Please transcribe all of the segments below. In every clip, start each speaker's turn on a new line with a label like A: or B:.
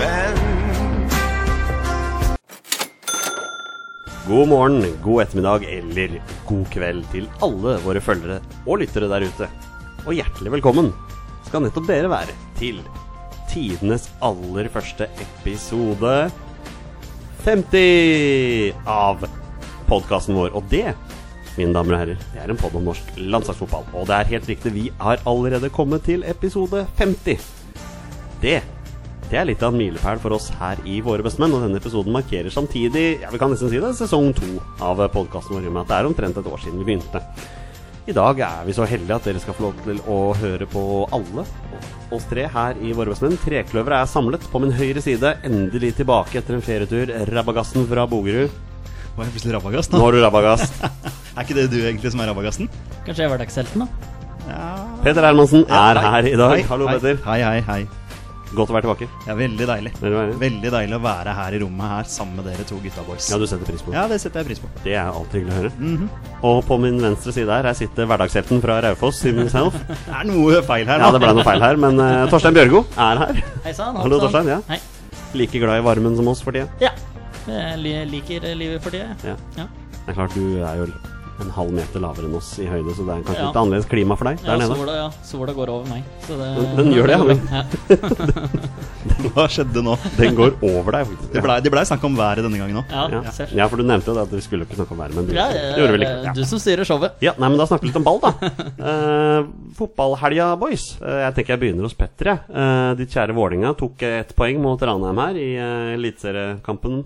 A: menn.
B: God morgen, god ettermiddag eller god kveld til alle våre følgere og lyttere der ute. Og hjertelig velkommen skal nettopp dere være til tidenes aller første episode 50 av podkasten vår. Og det, mine damer og herrer, det er en podd om norsk landslagsfotball. Og det er helt riktig, vi har allerede kommet til episode 50. Det det er litt av en milepæl for oss her i Våre bestemenn, og denne episoden markerer samtidig ja, vi kan nesten si det, sesong to av podkasten vår, i og med at det er omtrent et år siden vi begynte. I dag er vi så heldige at dere skal få lov til å høre på alle oss tre her i Våre bestemenn. Trekløveret er samlet på min høyre side, endelig tilbake etter en ferietur. Rabagassen fra Bogerud.
C: Var jeg plutselig rabagast
B: Nå
C: nå?
B: har du rabagast.
C: Er ikke det du egentlig som er rabagasten?
D: Kanskje jeg var dagshelten, da.
C: Ja.
B: Peter Hermansen er
C: Hei.
B: her i dag.
C: Hei,
B: Hallo,
C: hei.
B: Peter.
C: Hei, hei, hei.
B: Godt å være tilbake.
C: Det er veldig deilig.
B: Vil du være med?
C: Veldig deilig å være her i rommet her sammen med dere to gutta boys.
B: Ja, du setter pris på det.
C: Ja, Mhm. det setter jeg pris på.
B: Det er alltid hyggelig å høre. Og på min venstre side her, her sitter hverdagshelten fra Raufoss, Simen Self.
C: Det er noe feil her,
B: Ja, det ble noe feil her, men eh, Torstein Bjørgo er her.
D: Hei sann.
B: Hallo,
D: hoppsann.
B: Torstein, ja.
D: Hei.
B: Like glad i varmen som oss for tida.
D: Ja. Jeg li- liker livet for tida, jeg.
B: Ja.
D: Ja.
B: Det er klart, du er jo en halv meter lavere enn oss i høyde, så det er kanskje
D: Ja.
B: litt annerledes klima for deg
D: Ja,
B: der nede.
D: sola, ja. sola går over meg. Så det,
B: Den gjør det, ja, men-
D: ja.
C: Hva skjedde nå?
B: Den går over deg, faktisk.
C: Det blei ble snakk om været denne gangen òg.
D: Ja,
B: ja.
D: ser.
B: ja, for du nevnte jo det at vi skulle ikke snakke om været, men det
D: Ja,
B: gjorde
D: ja,
B: det gjorde vi vel ikke.
D: det er
B: Ja.
D: Du som styrer showet.
B: Ja, nei, men Da snakker vi litt om ball, da. Eh, fotballhelga, boys. Eh, jeg tenker jeg begynner hos Petter. jeg. Eh, ditt kjære Vålinga tok eh, ett poeng mot Ranheim her i eh, eliteseriekampen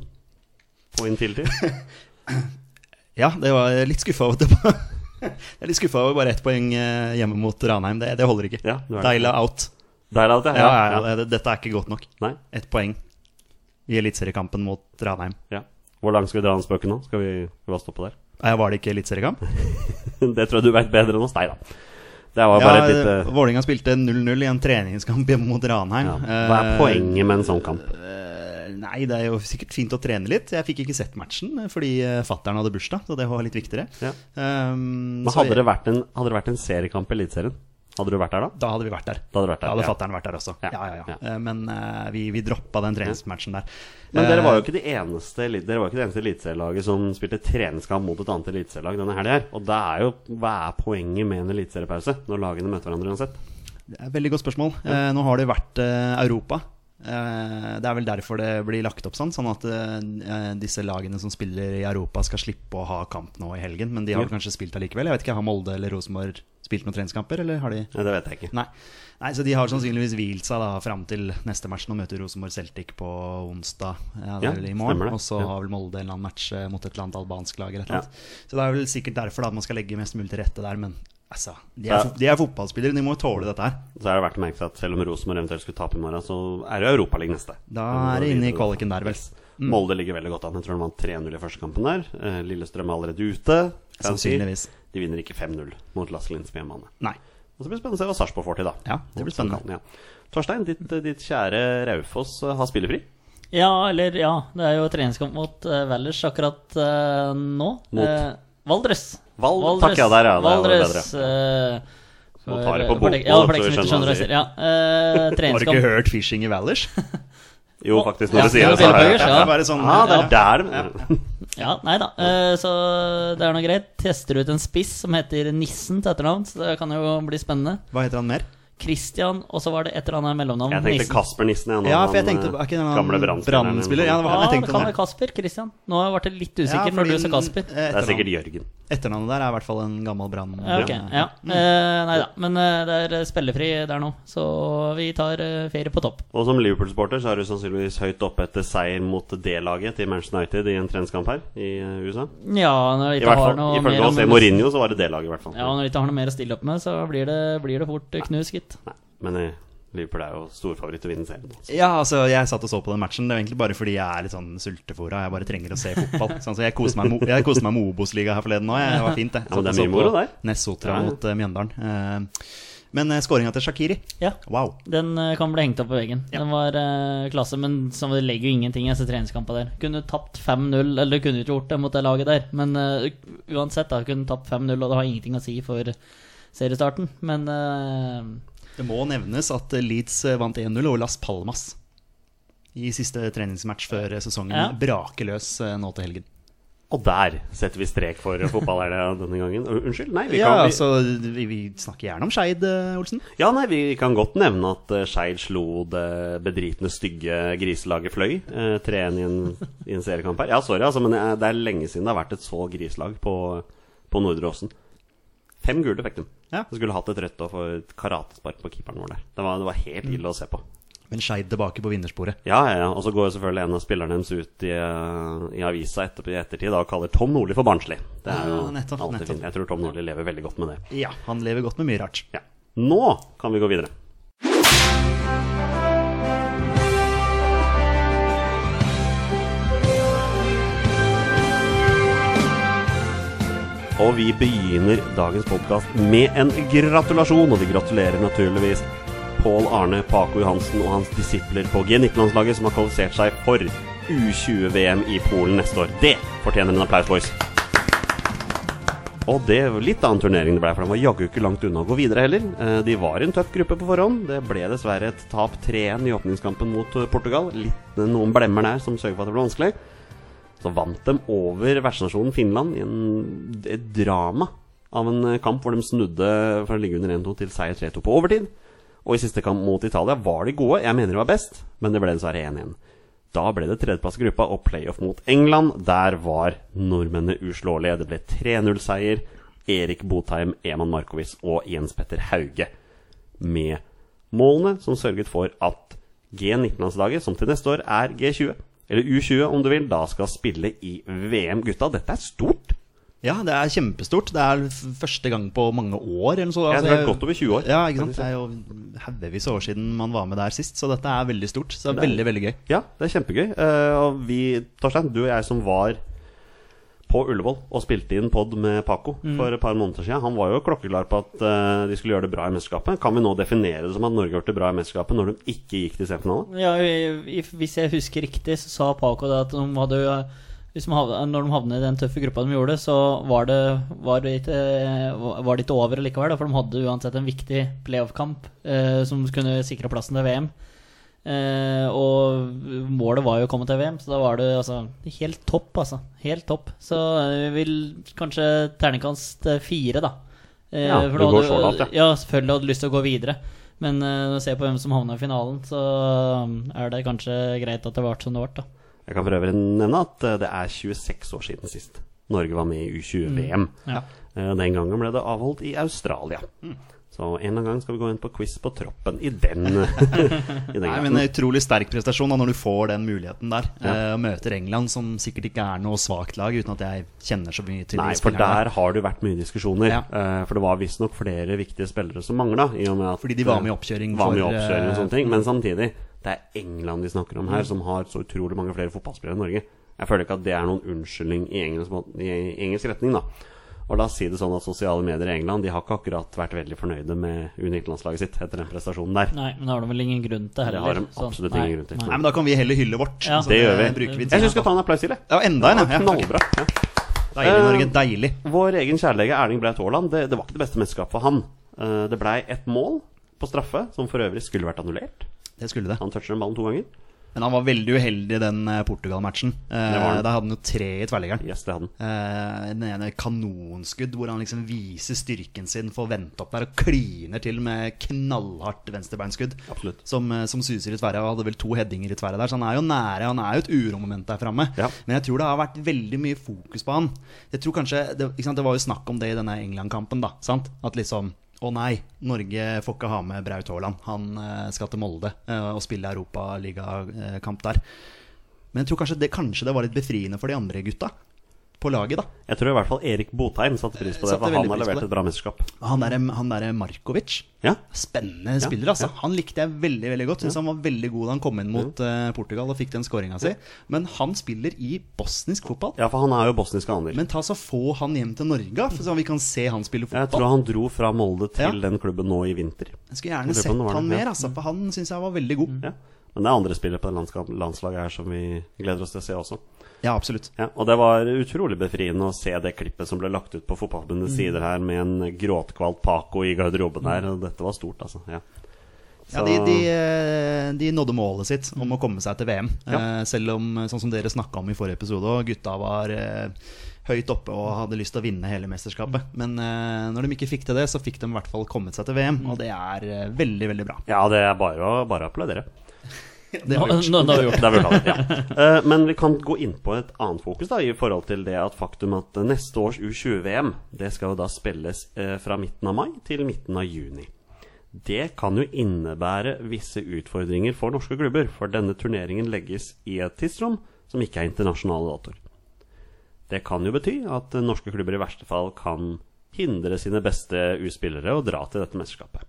B: på Intility.
C: Ja, det var jeg litt skuffa over at det var Jeg er litt skuffa over bare ett poeng eh, hjemme mot Ranheim. Det, det holder ikke.
B: Ja, du er det.
C: Deila out.
B: Der er det,
C: Ja, ja, ja, det- Dette er ikke godt nok.
B: Nei?
C: Ett poeng i eliteseriekampen mot Ranheim.
B: Ja. Hvor langt skal vi dra den spøken nå? Skal vi skal vi bare stoppe der?
C: Nei, Var det ikke eliteseriekamp?
B: det tror jeg du vet bedre enn oss. Nei da. Det var bare
C: Ja,
B: et lite
C: Vålinga spilte 0-0 i en treningskamp hjemme mot Ranheim.
B: ja. Hva er
C: Eh,
B: poenget med en sånn kamp?
C: eh, Nei, det er jo sikkert fint å trene litt. Jeg fikk ikke sett matchen eh, fordi fattern hadde bursdag, så det var litt viktigere.
B: Ja.
C: Um,
B: Men
C: så
B: hadde, det vært en, hadde det vært en seriekamp i Eliteserien, hadde du vært der da?
C: Da hadde vi vært der.
B: Da hadde du vært der,
C: Da hadde
B: ja.
C: fattern vært der også.
B: Ja,
C: Ja, ja, ja.
B: ja.
C: Eh, Men eh, vi, vi droppa den treningsmatchen der.
B: Men dere
C: Eh,
B: var jo ikke det eneste, elit- dere var jo ikke det eneste eliteserielaget som spilte treningskamp mot et annet eliteserielag denne helga her. Og da er jo hva er poenget med en eliteseriepause når lagene møter hverandre uansett?
C: Det er et Veldig godt spørsmål. Eh, nå har det vært eh, Europa. Eh, det er vel derfor det blir lagt opp sånn, sånn at eh, disse lagene som spiller i Europa, skal slippe å ha kamp nå i helgen. Men de har
B: Ja.
C: vel kanskje spilt allikevel. Jeg vet ikke, Har Molde eller Rosenborg spilt noen treningskamper, eller har de
B: Nei, det vet jeg ikke.
C: Nei. Nei, så de har sannsynligvis hvilt seg da fram til neste match. Nå møter Rosenborg Celtic på onsdag. Ja, det
B: Ja,
C: er vel i
B: stemmer
C: morgen.
B: det.
C: Og så
B: Ja.
C: har vel Molde en eller annen match eh, mot et eller annet albansk lag. Eller et eller annet. Så det er vel sikkert derfor da at man skal legge mest mulig til rette der. Men altså, de er,
B: Ja.
C: fo- de er fotballspillere, de må jo tåle dette her.
B: Så er det verdt å merke seg at selv om Rosenborg eventuelt skulle tape i morgen, så er det Europaligaen neste.
C: Da er det inne i kvaliken der, vel.
B: Molde ligger veldig godt an. Jeg tror de vant 3-0 i første kampen der. Eh, Lillestrøm er allerede ute. Kan jeg si.
C: Sannsynligvis.
B: De vinner ikke 5-0 mot Lasse Lindsen på hjemmebane.
C: Nei.
B: Og så blir det spennende å se hva Sarpsborg får til, da.
C: Ja, det blir spennende.
B: Ja. Torstein, ditt, eh, ditt kjære Raufoss eh, har spillefri.
D: Ja, eller ja. Det er jo treningskamp mot uh, Valdres akkurat eh, nå.
B: Mot?
D: Eh, Valdres.
B: Val- takk, ja, der, ja, der var det
D: Valdres. eh,
B: Må
D: for-
B: ta det på
D: for deg-
B: bokmål,
D: Ja,
B: så
D: for deg
B: vi
D: som ikke
B: skjønner hva han
D: skjønner hva jeg sier. Ja, eh,
C: Har du ikke
D: treningskamp
C: hørt 'Fishing i Valers'?
B: Jo, faktisk, når
D: Ja,
B: du sier
D: ja,
B: det, så har jeg hørt det.
D: Bjørn Bøgers,
C: Det er bare sånn,
B: Ah, det er
C: ja.
B: der de
D: Ja, nei da. eh, Så det er noe greit. Tester ut en spiss som heter Nissen til etternavn, så det kan jo bli spennende.
C: Hva heter han mer?
D: Christian, og så var det et eller annet mellomnavn.
B: Jeg tenkte
D: Nissen.
B: Kasper Nissen. Jeg, nå,
C: Ja, for jeg
B: han,
C: tenkte, er ikke
B: eh,
C: den
B: gamle
C: han
B: Brann-spilleren,
C: Brann-spiller? Ja, det var
D: Ja,
C: han jeg
D: det
C: tenkte
D: kan
C: om.
D: være Kasper. Christian. Nå ble jeg litt usikker når du sa Kasper.
B: Det er sikkert Jørgen.
C: eh, Etternavnet der er i hvert fall en gammel Brann.
D: Ja, ok, ja.
B: Mm.
D: Eh, Nei da. Men eh, det er spillefri der nå, så vi tar eh, ferie på topp.
B: Og som Liverpool-sporter så er du sannsynligvis høyt oppe etter seier mot D-laget til Manchester United i en treningskamp her i eh, USA.
D: Ja, når vi
B: I
D: ikke
B: hvert
D: har
B: fall,
D: noe
B: Ifølge
D: mer,
B: oss i
D: å-
B: Mourinho så var det D-laget, i hvert fall.
D: ja, når vi ikke har noe mer å stille opp med, så blir det, blir det fort eh, knus, gitt.
B: Nei, men eh, Liverpool er jo storfavoritt til å vinne serien. altså.
C: Ja, altså Jeg satt og så på den matchen. Det var egentlig bare fordi jeg er litt sånn sultefòra. Jeg bare trenger å se fotball. Sånn, så jeg koste meg, mo- jeg koste meg med Obos-liga her forleden òg. Det var fint, det.
B: Ja, men det er
C: Satt og så
B: mye moro
C: på
B: der.
C: Nessotra
B: Ja, ja.
C: mot eh, Mjøndalen. Eh, Men skåringa til Shakiri
D: Ja.
C: Wow.
D: Den eh, kan bli hengt opp på veggen.
C: Ja.
D: Den var eh, klasse, men som det legger jo ingenting i disse treningskampene der. Kunne tapt 5-0, eller kunne ikke gjort det mot det laget der, men eh, uansett, da, kunne tapt 5-0, og det har ingenting å si for seriestarten. Men eh,
C: eh, Det må nevnes at Leeds eh, vant 1-0 over Las Palmas. i siste treningsmatch før eh, sesongen
D: Ja.
C: braker løs eh, nå til helgen.
B: Og der setter vi strek for fotballerne denne gangen. Uh, Unnskyld? Nei, vi kan,
C: Ja,
B: vi-
C: altså, vi, vi snakker gjerne om Skeid, eh, Olsen.
B: Ja, nei, vi kan godt nevne at eh, Skeid slo det bedritne, stygge griselaget Fløy. eh, 3-1 i en, i en seriekamp her. Ja, sorry, altså, men eh, det er lenge siden det har vært et så grislag på, på Nordre Åsen. Fem gule fikk de.
C: Ja.
B: De skulle hatt et rødt og for et karatespark på keeperen vår der. Det var, det var
D: Mm.
B: helt ille å se på.
C: Men Skeid tilbake på vinnersporet.
B: Ja, ja, ja. Og så går jo selvfølgelig en av spillerne deres ut i, eh, i avisa etterpå, i ettertid da, og kaller Tom Nordli for barnslig. Det er jo
C: Ja, Ah, nettopp,
B: alltid
C: nettopp.
B: fint. Jeg tror Tom Nordli lever veldig godt med det.
C: Ja, han lever godt med mye rart.
B: Ja. Nå kan vi gå videre. Og vi begynner dagens podkast med en gratulasjon, og vi gratulerer naturligvis Pål Arne Paco Johansen og hans disipler på G19-landslaget, som har kvalifisert seg for U20-VM i Polen neste år. Det fortjener en applaus, boys. Og det var litt annen turnering det ble, for de var jaggu ikke langt unna å gå videre heller. Eh, De var i en tøff gruppe på forhånd. Det ble dessverre et tap 3-1 i åpningskampen mot eh, Portugal. Litt eh, noen blemmer der som sørger for at det ble vanskelig. Så vant de over vertsnasjonen Finland i en, et drama av en eh, kamp hvor de snudde fra å ligge under 1-2 til seier 3-2 på overtid. Og i siste kamp mot Italia var de gode. Jeg mener de var best, men det ble dessverre 1-1. Da ble det tredjeplass i gruppa og playoff mot England. Der var nordmennene uslåelige. Det ble 3-0-seier. Erik Botheim, Eman Markovic og Jens Petter Hauge med målene som sørget for at G19-landslaget, som til neste år er G20, eller U20 om du vil, da skal spille i VM. Gutta, dette er stort!
C: Ja, det er kjempestort. Det er f- første gang på mange år. Eller noe sånt. Altså,
B: Jeg tror det er godt over 20 år.
C: Ja, ikke sant? Det er jo haugevis av år siden man var med der sist, så dette er veldig stort. Så det er veldig, veldig gøy.
B: Ja, det er kjempegøy. Eh, og vi, Torstein, du og jeg som var på Ullevål og spilte inn pod med Paco for et par måneder siden, han var jo klokkeklar på at eh, de skulle gjøre det bra i mesterskapet. Kan vi nå definere det som at Norge har gjort det bra i mesterskapet når de ikke gikk til semifinale?
D: Ja, i- i- hvis jeg husker riktig, så sa Paco det at de hadde jo hvis de havna, når de havnet i den tøffe gruppa de gjorde, så var det, var det, ikke, eh, var det ikke over likevel. Da, for de hadde uansett en viktig playoff-kamp eh, som kunne sikre plassen til VM. Eh, og målet var jo å komme til VM, så da var det altså helt topp, altså. Helt topp. Så jeg vil kanskje terningkast eh, fire, da. Eh,
B: Ja,
D: for
B: du
D: da
B: går
D: hadde-
B: så langt, ja.
D: ja. selvfølgelig hadde lyst til å gå videre. Men eh, når jeg ser på hvem som havna i finalen, så eh, er det kanskje greit at det ble som det ble, da.
B: Jeg kan for øvrig nevne at eh, det er 26 år siden sist Norge var med i U20-VM.
D: Ja.
B: Eh, Den gangen ble det avholdt i Australia. Så en eller annen gang skal vi gå inn på quiz på troppen i den. i den
C: Nei,
B: grad.
C: men eh, en Utrolig sterk prestasjon da, når du får den muligheten der. eh, Og møter England, som sikkert ikke er noe svakt lag, uten at jeg kjenner så mye til
B: Nei,
C: de
B: for
C: spillerne.
B: der har det jo vært mye diskusjoner.
C: Ja.
B: eh, For det var visstnok flere viktige spillere som mangla.
C: Fordi de var med i oppkjøring
B: eh, Var
C: for,
B: med i oppkjøring
C: eh,
B: og
C: Mm.
B: sånne ting. Men samtidig, det er England vi snakker om her, som har så utrolig mange flere fotballspillere enn Norge. Jeg føler ikke at det er noen unnskyldning i engelsk, må- i engelsk retning, da. Og la oss si det sånn at sosiale medier i England De har ikke akkurat vært veldig fornøyde med U19-landslaget sitt etter den prestasjonen der.
D: Nei, men det har de vel ingen grunn til
B: Det
D: heller.
B: har de
D: så-
B: absolutt
D: nei,
B: ingen grunn til.
D: nei.
C: Nei, men da kan vi heller hylle vårt.
D: Ja.
C: så
B: Det gjør vi.
C: Bruker vi
B: Jeg
C: tiden
B: syns vi skal ta en applaus til, jeg.
C: Ja, enda en, ja. ja. takk.
B: Knallbra. Eh. Ja.
C: Deilig, Norge. Deilig.
B: Vår egen kjærlege Erling Braut Haaland, det, det var ikke det beste mesterskapet for han. Eh, Det blei ett mål på straffe, som for øvrig skulle vært annullert.
C: Det skulle det.
B: Han toucher den ballen to ganger.
C: Men han var veldig uheldig i den eh, Portugal-matchen. Eh,
B: Det var han.
C: Der hadde han jo tre i tverrliggeren.
B: Yes, det hadde han.
C: Eh, Den ene kanonskudd hvor han liksom viser styrken sin, får vente opp der og kliner til med knallhardt venstrebeinskudd.
B: Absolutt.
C: Som, eh, som suser i tverra. og Hadde vel to headinger i tverra der, så han er jo nære. Han er jo et uromoment der framme.
B: Ja.
C: Men jeg tror det har vært veldig mye fokus på han. Jeg tror kanskje, Det, ikke sant, det var jo snakk om det i denne England-kampen, da. sant? At liksom å nei, Norge får ikke ha med Braut Haaland. Han eh, skal til Molde eh, og spille europaligakamp der. Men jeg tror kanskje det, kanskje det var litt befriende for de andre gutta på laget, da.
B: Jeg tror i hvert fall Erik Botheim satte pris på det,
C: Satte
B: for
C: veldig
B: han har
C: pris på
B: levert
C: det.
B: et bra mesterskap.
C: Han der, han der Markovic.
B: Ja,
C: Spennende spiller, altså. Han likte jeg veldig veldig godt. Synes Han var veldig god da han kom inn mot eh, Portugal og fikk den skåringa si. Men han spiller i bosnisk fotball.
B: ja for han er jo bosnisk aner.
C: Men ta så få han hjem til Norge, da, for så vi kan se han spille
B: Jeg
C: fotball.
B: tror han dro fra Molde til
C: Ja.
B: den klubben nå i vinter.
C: Jeg skulle
B: jeg
C: gjerne
B: tror på
C: sett
B: han var
C: han
B: det, ja. Mm.
C: mer, altså, for han syns jeg var veldig god.
B: Ja. Men det er andre spillere på det landska- landslaget her som vi gleder oss til å se også.
C: Ja, absolutt.
B: Ja, og det var utrolig befriende å se det klippet som ble lagt ut på
C: Mm.
B: Fotballforbundets sider her, med en gråtkvalt Paco i garderoben der. og Dette var stort, altså. Ja.
C: Ja, de, de, eh, de nådde målet sitt om å komme seg til VM.
B: Ja.
C: Eh, Selv om, sånn som dere snakka om i forrige episode, og gutta var eh, høyt oppe og hadde lyst til å vinne hele mesterskapet. Men eh, når de ikke fikk til det, så fikk de i hvert fall kommet seg til VM, og det er eh, veldig, veldig bra.
B: ja, det er bare å bare å applaudere.
C: Det
D: Nå,
C: har vi gjort.
D: nå, nå har vi gjort
B: Det er vel det, ja. Eh, Men vi kan gå inn på et annet fokus da, i forhold til det at faktum at neste års U20-VM det skal jo da spilles eh, fra midten av mai til midten av juni. Det kan jo innebære visse utfordringer for norske klubber, for denne turneringen legges i et tidsrom som ikke er internasjonale datoer. Det kan jo bety at eh, norske klubber i verste fall kan hindre sine beste U-spillere å dra til dette mesterskapet.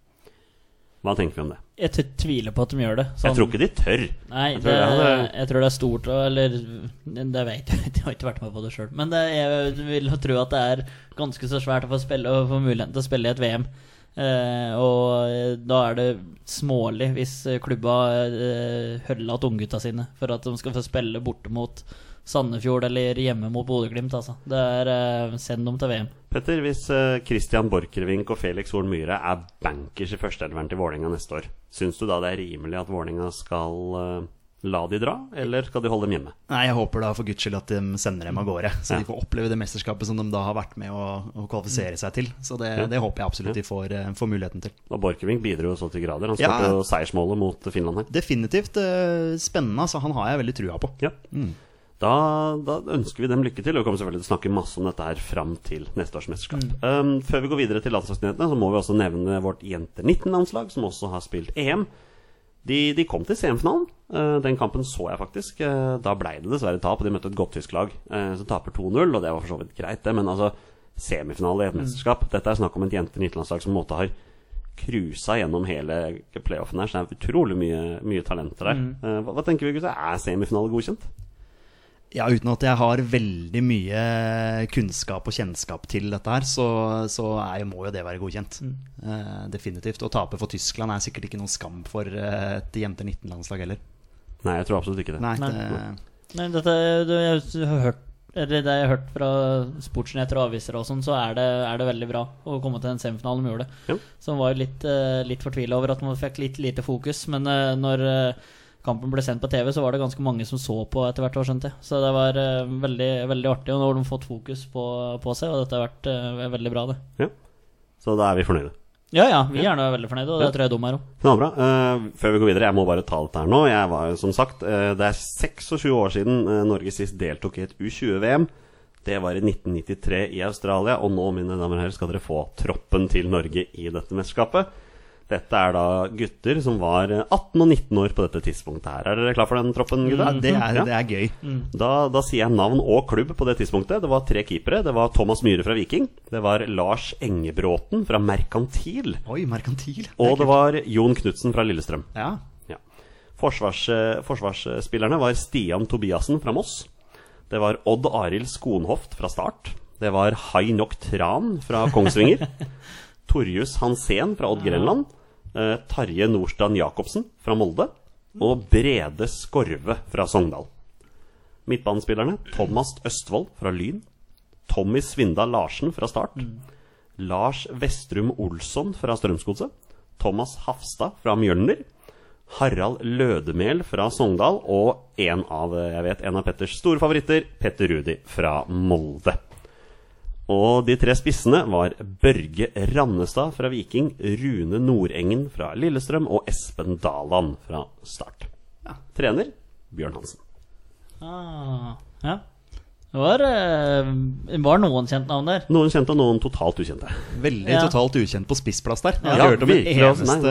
B: Hva tenker vi om det?
D: Jeg t- tviler på at de gjør det. sånn.
B: Jeg tror ikke de tør.
D: Nei,
B: Jeg
D: jeg
B: tror
D: tror, det,
B: det hadde-
D: jeg tror det er stort og- Eller det vet jeg ikke, jeg har ikke vært med på det sjøl. Men det, jeg vil jo tro at det er ganske så svært å få, spille, å få muligheten til å spille i et VM. Eh, og da er det smålig hvis klubba eh, holder at unggutta sine for at de skal få spille borte mot Sandefjord eller hjemme mot Bodø-Glimt. Altså. Det er eh, Send dem til VM.
B: Petter, hvis eh, Christian Borchgrevink og Felix Horn Myhre er bankers i førsteelveren til Vålerenga neste år, syns du da det er rimelig at Vålerenga skal eh, la de dra, eller skal de holde dem hjemme?
C: Nei, jeg håper da for guds skyld at de sender dem av gårde, så
B: Ja.
C: de får oppleve det mesterskapet som de da har vært med å, å kvalifisere seg til. Så det, det håper jeg absolutt de får, eh, får muligheten til.
B: Og Borchgrevink bidro jo så til grader. Han
C: Ja.
B: skåret jo seiersmålet mot Finland her.
C: Definitivt eh, spennende, altså. Han har jeg veldig trua på.
B: Ja. Da, da ønsker vi dem lykke til, og vi kommer selvfølgelig til å snakke masse om dette her fram til neste års mesterskap. Um, før vi går videre til landslagsnyhetene, så må vi også nevne vårt Jenter 19-landslag, som også har spilt EM. De, de kom til semifinalen. Eh, den kampen så jeg faktisk. Eh, da blei det dessverre tap, og de møtte et godt tysk lag eh, som taper 2-0, og det var for så vidt greit, det, men altså Semifinale i et mesterskap. Dette er snakk om et jenter 19-landslag som på en måte har cruisa gjennom hele playoffen her, så det er utrolig mye, mye talenter der. Eh, hva, hva tenker vi, gutta? Er semifinale godkjent?
C: Ja, uten at jeg har veldig mye kunnskap og kjennskap til dette her, så, så er, jo- må jo det være godkjent.
D: Mm.
C: Eh, definitivt. Å tape for Tyskland er sikkert ikke noen skam for eh, et jenter 19-landslag heller.
B: Nei, jeg tror absolutt ikke det.
C: Nei,
D: Nei. Mm.
C: det-
D: Nei, dette det jeg, har hørt eller det jeg har hørt fra sportsnyheter og aviser, og sånn, så er det, er det veldig bra å komme til en semifinale med Jule.
B: Ja.
D: Som var jo litt, eh, litt fortvila over at man fikk litt lite fokus. Men eh, når eh, kampen ble sendt på TV, så var det ganske mange som så på etter hvert. år, skjønte jeg. Så det var eh, veldig, veldig artig. Og nå har de fått fokus på, på seg, og dette har vært eh, veldig bra, det.
B: Ja. Så da er vi fornøyde.
D: Ja ja, vi er nå veldig fornøyde, og det tror jeg de er òg.
B: Knallbra. Eh, før vi går videre, jeg må bare ta dette her nå. Jeg var jo som sagt eh, Det er 26 år siden eh, Norge sist deltok i et U20-VM. Det var i 1993 i Australia, og nå, mine damer og herrer, skal dere få troppen til Norge i dette mesterskapet. Dette er da gutter som var eh, 18 og 19 år på dette tidspunktet her. Er dere klar for den troppen,
C: ja,
B: gutta?
C: det, er,
B: Ja.
C: det er gøy.
D: Mm.
B: Da, da sier jeg navn og klubb på det tidspunktet. Det var tre keepere. Det var Thomas Myhre fra Viking. Det var Lars Engebråten fra Merkantil.
C: Oi, merkantil.
B: Og det var Jon Knutsen fra Lillestrøm.
C: Ja.
B: Ja. Forsvars, eh, forsvarsspillerne var Stian Tobiassen fra Moss. Det var Odd Arild Skonhoft fra Start. Det var Hai Nok Tran fra Kongsvinger. Torjus Hansen fra Odd Grenland. Eh, Tarje Nordstrand Jacobsen fra Molde. Og Brede Skorve fra Sogndal. Midtbanespillerne Thomas Østfold fra Lyn. Tommy Svindal Larsen fra Start. Lars Vestrum Olsson fra Strømsgodset. Thomas Hafstad fra Mjølner. Harald Lødemel fra Sogndal og en av, eh, jeg vet, en av Petters store favoritter, Petter Rudi fra Molde. Og de tre spissene var Børge Rannestad fra Viking, Rune Nordengen fra Lillestrøm og Espen Daland fra Start. Trener Bjørn Hansen.
D: Ah, ja. Det var, eh, var noen kjent navn der.
B: Noen kjente og noen totalt ukjente.
C: Veldig
D: Ja.
C: totalt ukjent på spissplass der. Jeg har
B: Ja,
C: ikke hørt om en
B: virkelig, altså, nei,
C: eneste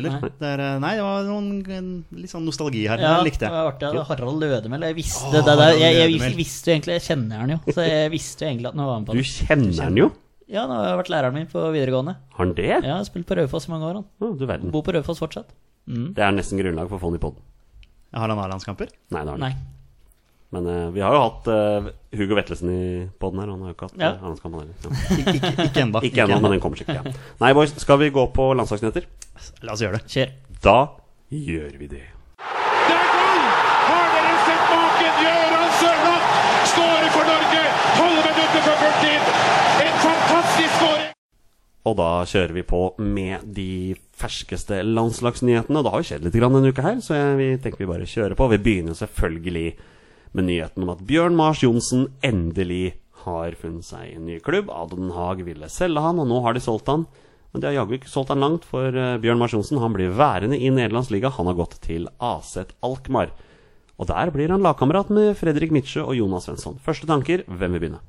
B: nei.
C: angrepsspiller.
D: Nei.
C: Det er, eh, Nei, det var noen, en, litt sånn nostalgi her.
D: Ja,
C: det likte
D: det
C: jeg.
D: var artig. ja. Harald Lødemel. Jeg visste
C: Åh,
D: det der.
C: Harald
D: Jeg, jeg,
C: Lødemel.
D: vis- visste jo egentlig Jeg kjenner han jo, så jeg visste jo egentlig at han var med på
B: Du
D: det.
B: kjenner han jo!
D: Ja, han har jo vært læreren min på videregående.
B: Har han det?
D: Jeg har spilt på Raufoss i mange år, han.
B: Å, du verden.
D: Bor på Raufoss fortsatt.
B: Det er nesten grunnlag for å få han i poden.
C: Har han A-landskamper?
B: Nei, det har han
D: Nei.
B: ikke. Men eh, vi har jo hatt eh, Hugo Vettelsen i poden her, og han har jo ikke hatt
D: Ja.
B: ja. Arendalskampen heller. Ja.
C: Ikke, ikke, ikke ennå.
B: Ikke ennå, men den kommer sikkert. Ja. Nei, boys, skal vi gå på landslagsnyheter?
C: La oss gjøre det.
D: Kjør.
B: Da gjør vi det.
A: Der kan! Har dere sett maken? Gøran Sørloth skårer for Norge! 12 minutter før fulltid! En fantastisk skåring!
B: Og da kjører vi på med de ferskeste landslagsnyhetene. Og det har jo skjedd litt grann denne uka her, så jeg, vi tenker vi bare kjører på. Vi begynner selvfølgelig med nyheten om at Bjørn Mars Johnsen endelig har funnet seg en ny klubb. Aden Haag ville selge han, og nå har de solgt han. Men de har jaggu ikke solgt han langt, for eh, Bjørn Mars Johnsen han blir værende i Nederlands liga. Han har gått til Aset Alkmaar. Og der blir han lagkamerat med Fredrik Mitsjø og Jonas Svensson. Første tanker, hvem vil begynne?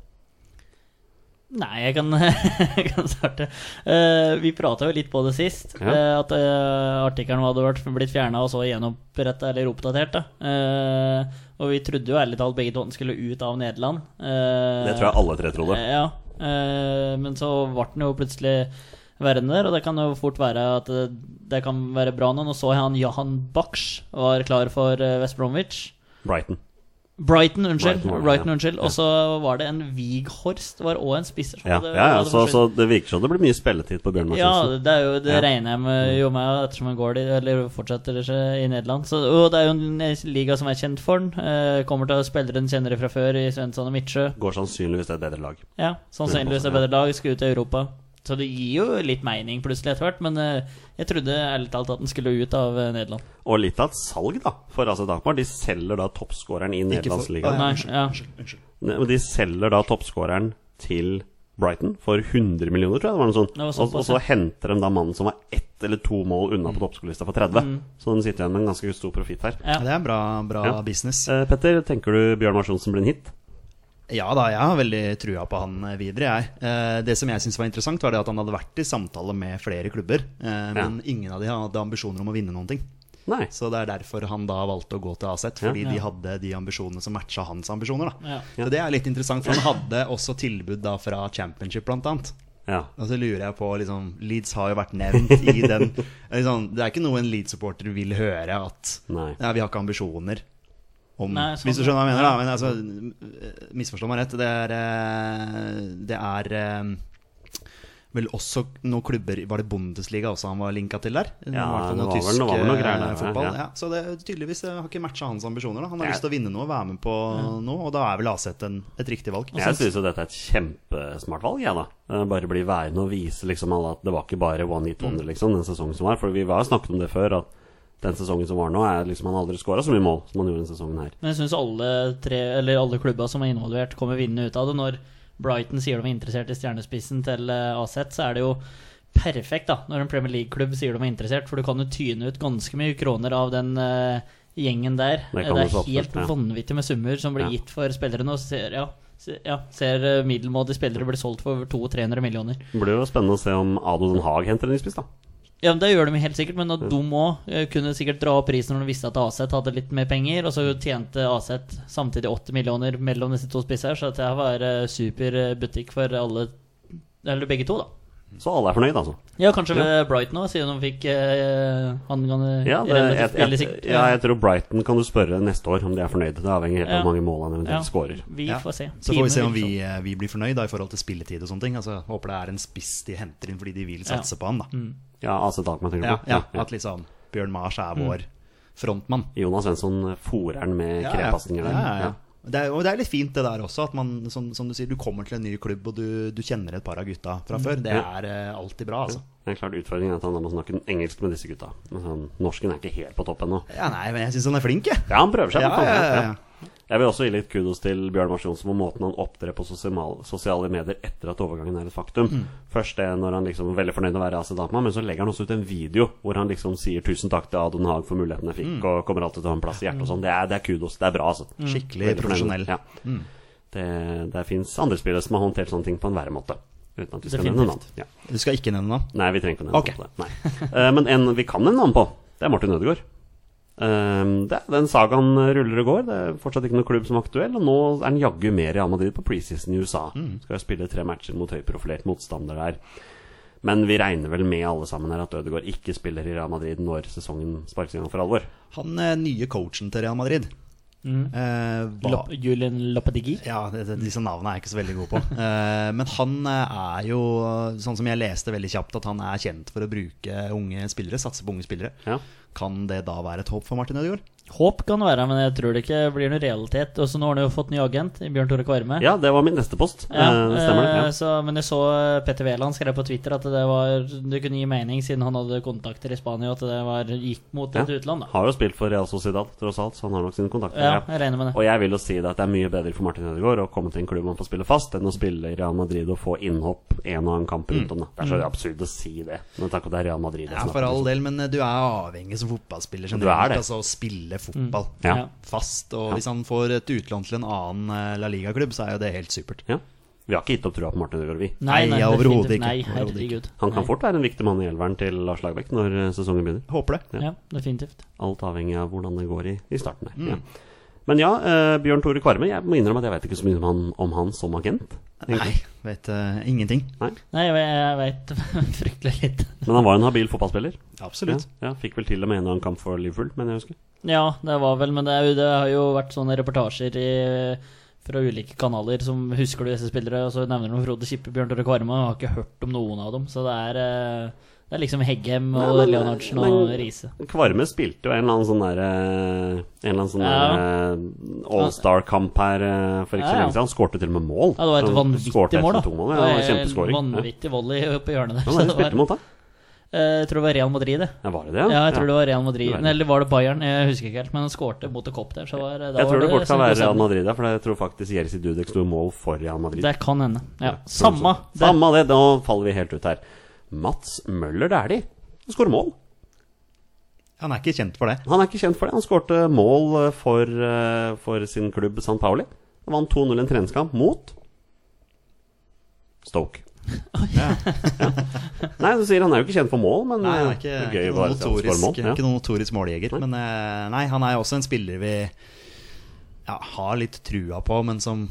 D: Nei, jeg kan, jeg kan starte. Eh, vi prata jo litt på det sist.
B: Ja.
D: eh, at uh, artikkelen hadde vært, blitt fjerna og så gjenoppretta eller oppdatert. Da. Eh, og vi trodde jo ærlig talt begge to skulle ut av Nederland.
B: Det tror jeg alle tre trodde.
D: Eh, Ja, eh, men så ble den jo plutselig værende der, og det kan jo fort være at det, det kan være bra nå. Nå så jeg han Jahan Baksh var klar for eh, West Bromwich.
B: Brighton.
D: Brighton, unnskyld.
B: Brighton var det,
D: Brighton,
B: ja.
D: unnskyld. Og så var det en Wighorst, var òg en spisser. som
B: Ja,
D: hadde-
B: ja, ja
D: hadde
B: så,
D: forsvunnet.
B: så det virker som det blir mye spilletid på Bjørn Mars
D: Ja,
B: Johnsen.
D: det, er jo, det
B: Ja.
D: regner jeg med, jo med ettersom han går dit, eller fortsetter seg i Nederland. Så, og det er jo en liga som er kjent for den. Eh, kommer til å spille den kjennere fra før i Svensson og Midtsjø.
B: Går sannsynligvis til et bedre lag.
D: Ja, sånn Sannsynligvis et bedre lag, skal ut i Europa. Så det gir jo litt mening plutselig etter hvert, men eh, jeg trodde ærlig talt at den skulle ut av eh, Nederland.
B: Og litt av et salg, da, for AC Dakmar. De selger da toppskåreren i Nederlandsligaen.
D: Nei, ja.
B: Ne- men De selger da toppskåreren til Brighton for 100 millioner, tror jeg det var noe sånt.
D: Det var
B: Og,
D: såpass, Mm.
B: og så henter de da mannen som var ett eller to mål unna på toppskårerlista for 30. Så de sitter igjen med en ganske stor profitt her.
D: Ja.
C: Ja, det er en bra, bra
B: Ja.
C: business.
B: Eh, Petter, tenker du Bjørn Mars Johnsen blir en hit?
C: Ja da, jeg har veldig trua på han eh, videre, jeg. Eh, Det som jeg syntes var interessant, var det at han hadde vært i samtale med flere klubber, eh, men ingen av de hadde ambisjoner om å vinne noen ting.
B: Nei.
C: Så det er derfor han da valgte å gå til Aset, fordi de hadde de ambisjonene som matcha hans ambisjoner. da.
D: Ja.
C: Så det er litt interessant, for han hadde også tilbud da fra Championship, blant annet.
B: Ja.
C: Og så lurer jeg på, liksom, Leeds har jo vært nevnt i den liksom, Det er ikke noe en Leeds-supporter vil høre at
B: Nei.
C: ja, vi har ikke ambisjoner om
D: Nei, sånn,
C: Hvis du skjønner hva jeg mener, da. Men altså, misforstå meg rett. Det er, eh, det er eh, vel også noen klubber Var det Bundesliga også han var linka til der? I
B: Ja,
C: hvert fall
B: det
C: noe
B: var vel-
C: tysk,
B: det var vel noe
C: eh,
B: greier der, ja,
C: fotball.
B: ja.
C: Ja, så det tydeligvis eh, har ikke matcha hans ambisjoner. Da. Han har
B: Jeg-
C: lyst til å vinne noe, være med på noe, og da er vel Aset en- et riktig valg.
B: Jeg syns jo dette er et kjempesmart valg, jeg, da. Eh, Bare bli værende og vise liksom alle at det var ikke bare one hit
C: Mm.
B: wonder, liksom, den sesongen som var. For vi har snakket om det før, at den sesongen som var nå, er liksom han aldri skåra så mye mål som han gjorde denne sesongen her.
D: Men jeg syns alle, tre- eller alle klubba som er involvert, kommer vinnende ut av det. Når Brighton sier de er interessert i stjernespissen til eh, AZ, så er det jo perfekt da, når en Premier League-klubb sier de er interessert, for du kan jo tyne ut ganske mye kroner av den eh, gjengen der.
B: Det
D: Det,
B: kan du
D: er
B: så absolutt,
D: helt
B: ja.
D: vanvittig med summer som blir
B: Ja.
D: gitt for spillerne. og ser, ja, se- ja, ser eh, middelmådige spillere bli solgt for over 200-300 millioner.
B: Det blir jo spennende å se om Ado Den Haag henter en ny spiss, da.
D: Ja, men Det gjør de helt sikkert, men at de òg eh, kunne sikkert dra opp prisen når de visste at Aset hadde litt mer penger, og så tjente Aset samtidig 80 millioner mellom disse to spisser, så dette her var eh, super eh, butikk for alle, eller begge to, da.
B: Så alle er fornøyd, altså.
D: Ja, kanskje ved Brighton òg, siden de fikk eh, angående
B: Ja, det, jeg,
D: relativt billig
B: jeg,
D: sikt.
B: ja, jeg tror Brighton kan du spørre neste år om de er fornøyde. Det avhenger helt av
D: Ja.
B: hvor mange mål han eventuelt
D: Ja,
B: skårer.
D: Vi
C: Ja.
D: får se.
C: Så får vi se
D: Timen
C: om
D: vil
C: vi, eh, vi blir fornøyd da, i forhold til spilletid og sånne ting. Altså, jeg håper det er en spiss de henter inn fordi de vil satse på han. da.
B: Ja, AC Takman tenker du
C: Ja,
B: på?
C: ja, at liksom Bjørn Mars er vår frontmann.
B: Jonas Svensson eh, fòrer han med
C: Ja, ja.
B: krepassinger der.
C: Ja, ja, ja. Det er, og det er litt fint det der også, at man, som, som du sier, du kommer til en ny klubb og du, du kjenner et par av gutta fra før. Det
B: Ja.
C: er eh, alltid bra, altså.
B: Det er klart Utfordringen er at han da må snakke engelsk med disse gutta. Men han- norsken er ikke helt på topp ennå.
C: Ja, nei, men jeg syns han er flink, jeg.
B: Ja, han prøver seg.
C: Ja,
B: men
C: ja,
B: faen,
C: ja,
B: ja. Jeg vil også gi litt kudos til Bjørn Mars Johnsen for måten han opptrer på sosial- sosiale medier etter at overgangen er et faktum.
C: Mm.
B: Først det når han liksom er veldig fornøyd med å være AC Dama, men så legger han også ut en video hvor han liksom sier 'tusen takk til Adon Haag for muligheten jeg
C: Mm.
B: fikk', og kommer alltid til å ha en plass i hjertet og sånn. Det, er- det er kudos. Det er bra, altså.
C: Skikkelig
B: Veldig
C: Mm.
B: fornøyd.
C: profesjonell. Mm.
B: Ja. Det, det fins andre spillere som har håndtert sånne ting på en verre måte. Uten at vi skal nevne
D: Definitivt.
B: navn. Ja.
C: Du skal ikke nevne navn.
B: Nei, vi trenger ikke å nevne
C: Ok.
B: navn på det. Nei. Eh, men en vi kan nevne navn på, det er Martin Ødegaard. Eh, det, den sagaen ruller og går. Det er fortsatt ikke noen klubb som er aktuell. Og nå er han jaggu med Real Madrid på preseason i USA.
D: Mm.
B: Skal spille tre matcher mot høyprofilert motstander der. Men vi regner vel med alle sammen her at Ødegaard ikke spiller i Real Madrid når sesongen sparkes i gang for alvor.
C: Han eh, nye coachen til Real Madrid eh, hva-
D: Lop- Julian Lopetegui.
C: Ja, det, det, disse navnene er jeg ikke så veldig god på. Eh, men han eh, er jo, sånn som jeg leste veldig kjapt, at han er kjent for å bruke unge spillere, satse på unge spillere.
B: Ja.
C: Kan det da være et håp for Martin Ødegaard?
D: Håp kan det være, men jeg tror det ikke blir noen realitet. Og så nå har han jo fått ny agent i Bjørn Tore Kvarme.
B: Ja, det var min neste post.
D: Ja,
B: Eh, det stemmer,
D: eh,
B: det.
D: Så, men jeg så eh, Petter Wæland skrev på Twitter at det, var, det kunne gi mening, siden han hadde kontakter i Spania, at det var, gikk mot
B: Ja.
D: et utland.
B: Ja.
D: da.
B: Har jo spilt for Real Sociedad, tross alt, så han har nok sine kontakter.
D: Ja,
B: ja.
D: jeg regner med det.
B: Og jeg vil jo si det at det er mye bedre for Martin Ødegaard å komme til en klubb man får spille fast, enn å spille i Real Madrid og få innhopp en og annen kamp rundt om. Da. Det er så absurd å si det, men takk at det er Real Madrid. jeg
C: Mm. Ja,
B: snakker
C: for all
B: om.
C: del, men eh, du er avhengig som fotballspiller.
B: Du er det.
C: generelt, Altså å spille fotball
B: Ja.
D: Ja.
C: fast. Og hvis han får et utlån til en annen eh, La Liga-klubb, så er jo det helt supert.
B: Ja. Vi har ikke gitt opp trua på Martin Ødegaard, vi.
D: Nei, nei,
C: Nei, overhodet
D: definitivt
C: ikke.
D: Nei,
C: Overhodet
D: herregud.
B: Han kan
D: Nei.
B: fort være en viktig mann i elveren til Lars Lagerbäck når eh, sesongen begynner.
C: Håper det.
D: Ja, definitivt.
B: Alt avhengig av hvordan det går i, i starten
C: Mm.
B: her. Ja. Men ja, eh, Bjørn Tore Kvarme. Jeg må innrømme at jeg vet ikke så mye om han, om han som agent.
C: Nei, vet eh, ingenting.
D: Nei, jeg, jeg veit fryktelig litt.
B: Men han var en habil fotballspiller. Ja,
C: Absolutt.
B: ja, fikk vel til og med en og annen kamp for Liverpool, mener jeg å huske.
D: Ja, det var vel, men det, er jo, det har jo vært sånne reportasjer i, fra ulike kanaler som husker du disse spillere, og så nevner de Frode Kippe, Bjørn Tore Kvarme, og jeg har ikke hørt om noen av dem. Så det er, eh, det er liksom Heggem
B: Nei,
D: og
B: men-
D: Leonardsen
B: men-
D: og Riise.
B: Kvarme spilte jo en eller annen sånn der eh, En eller annen sånn
D: Ja.
B: der, eh, All-star-kamp her eh, for ikke
D: Ja,
B: så
D: ja.
B: lenge siden. Han skårte til og med mål.
D: Ja, det var et
B: Han skårte
D: vanvittig
B: ett
D: mål, da.
B: eller to mål, ja. Det var en
D: Det var
B: Kjempeskåring. Ja.
D: Vanvittig volley på hjørnet der.
B: Hvem var
D: Så
B: det de
D: det
B: spilte
D: var,
B: mot, da?
D: eh, jeg tror det var Real Madrid, det.
B: Ja, var det det?
D: Ja, jeg tror det var Real Madrid.
B: Verden.
D: Nei, Eller var det Bayern? Jeg husker ikke helt, men han skårte mot en kopp der. Så var, da
B: Jeg
D: var
B: tror det fort kan være
D: sånn-
B: Real Madrid, ja, for jeg tror faktisk Jerzy Dudek sto i mål for Real Madrid.
D: Det kan hende. Ja,
B: Sånn
D: Samme.
B: som-
D: Det,
B: Samme det, nå faller vi helt ut her. Mats Møller Dæhlie skårer mål.
C: Han er ikke kjent for det.
B: Han er ikke kjent for det. Han skårte mål eh, for, eh, for sin klubb San Pauli. Han vant 2-0 en treningskamp mot Stoke. ja. Nei, du sier han er jo ikke kjent for mål, men
C: Nei, han
B: eh,
D: Mm.
C: er ikke,
B: det er gøy
C: ikke, noen
B: å bare si at han skårer
C: notorisk,
B: mål. Ja.
C: ikke noen notorisk måljeger. Men eh, nei, han er også en spiller vi ja, har litt trua på, men som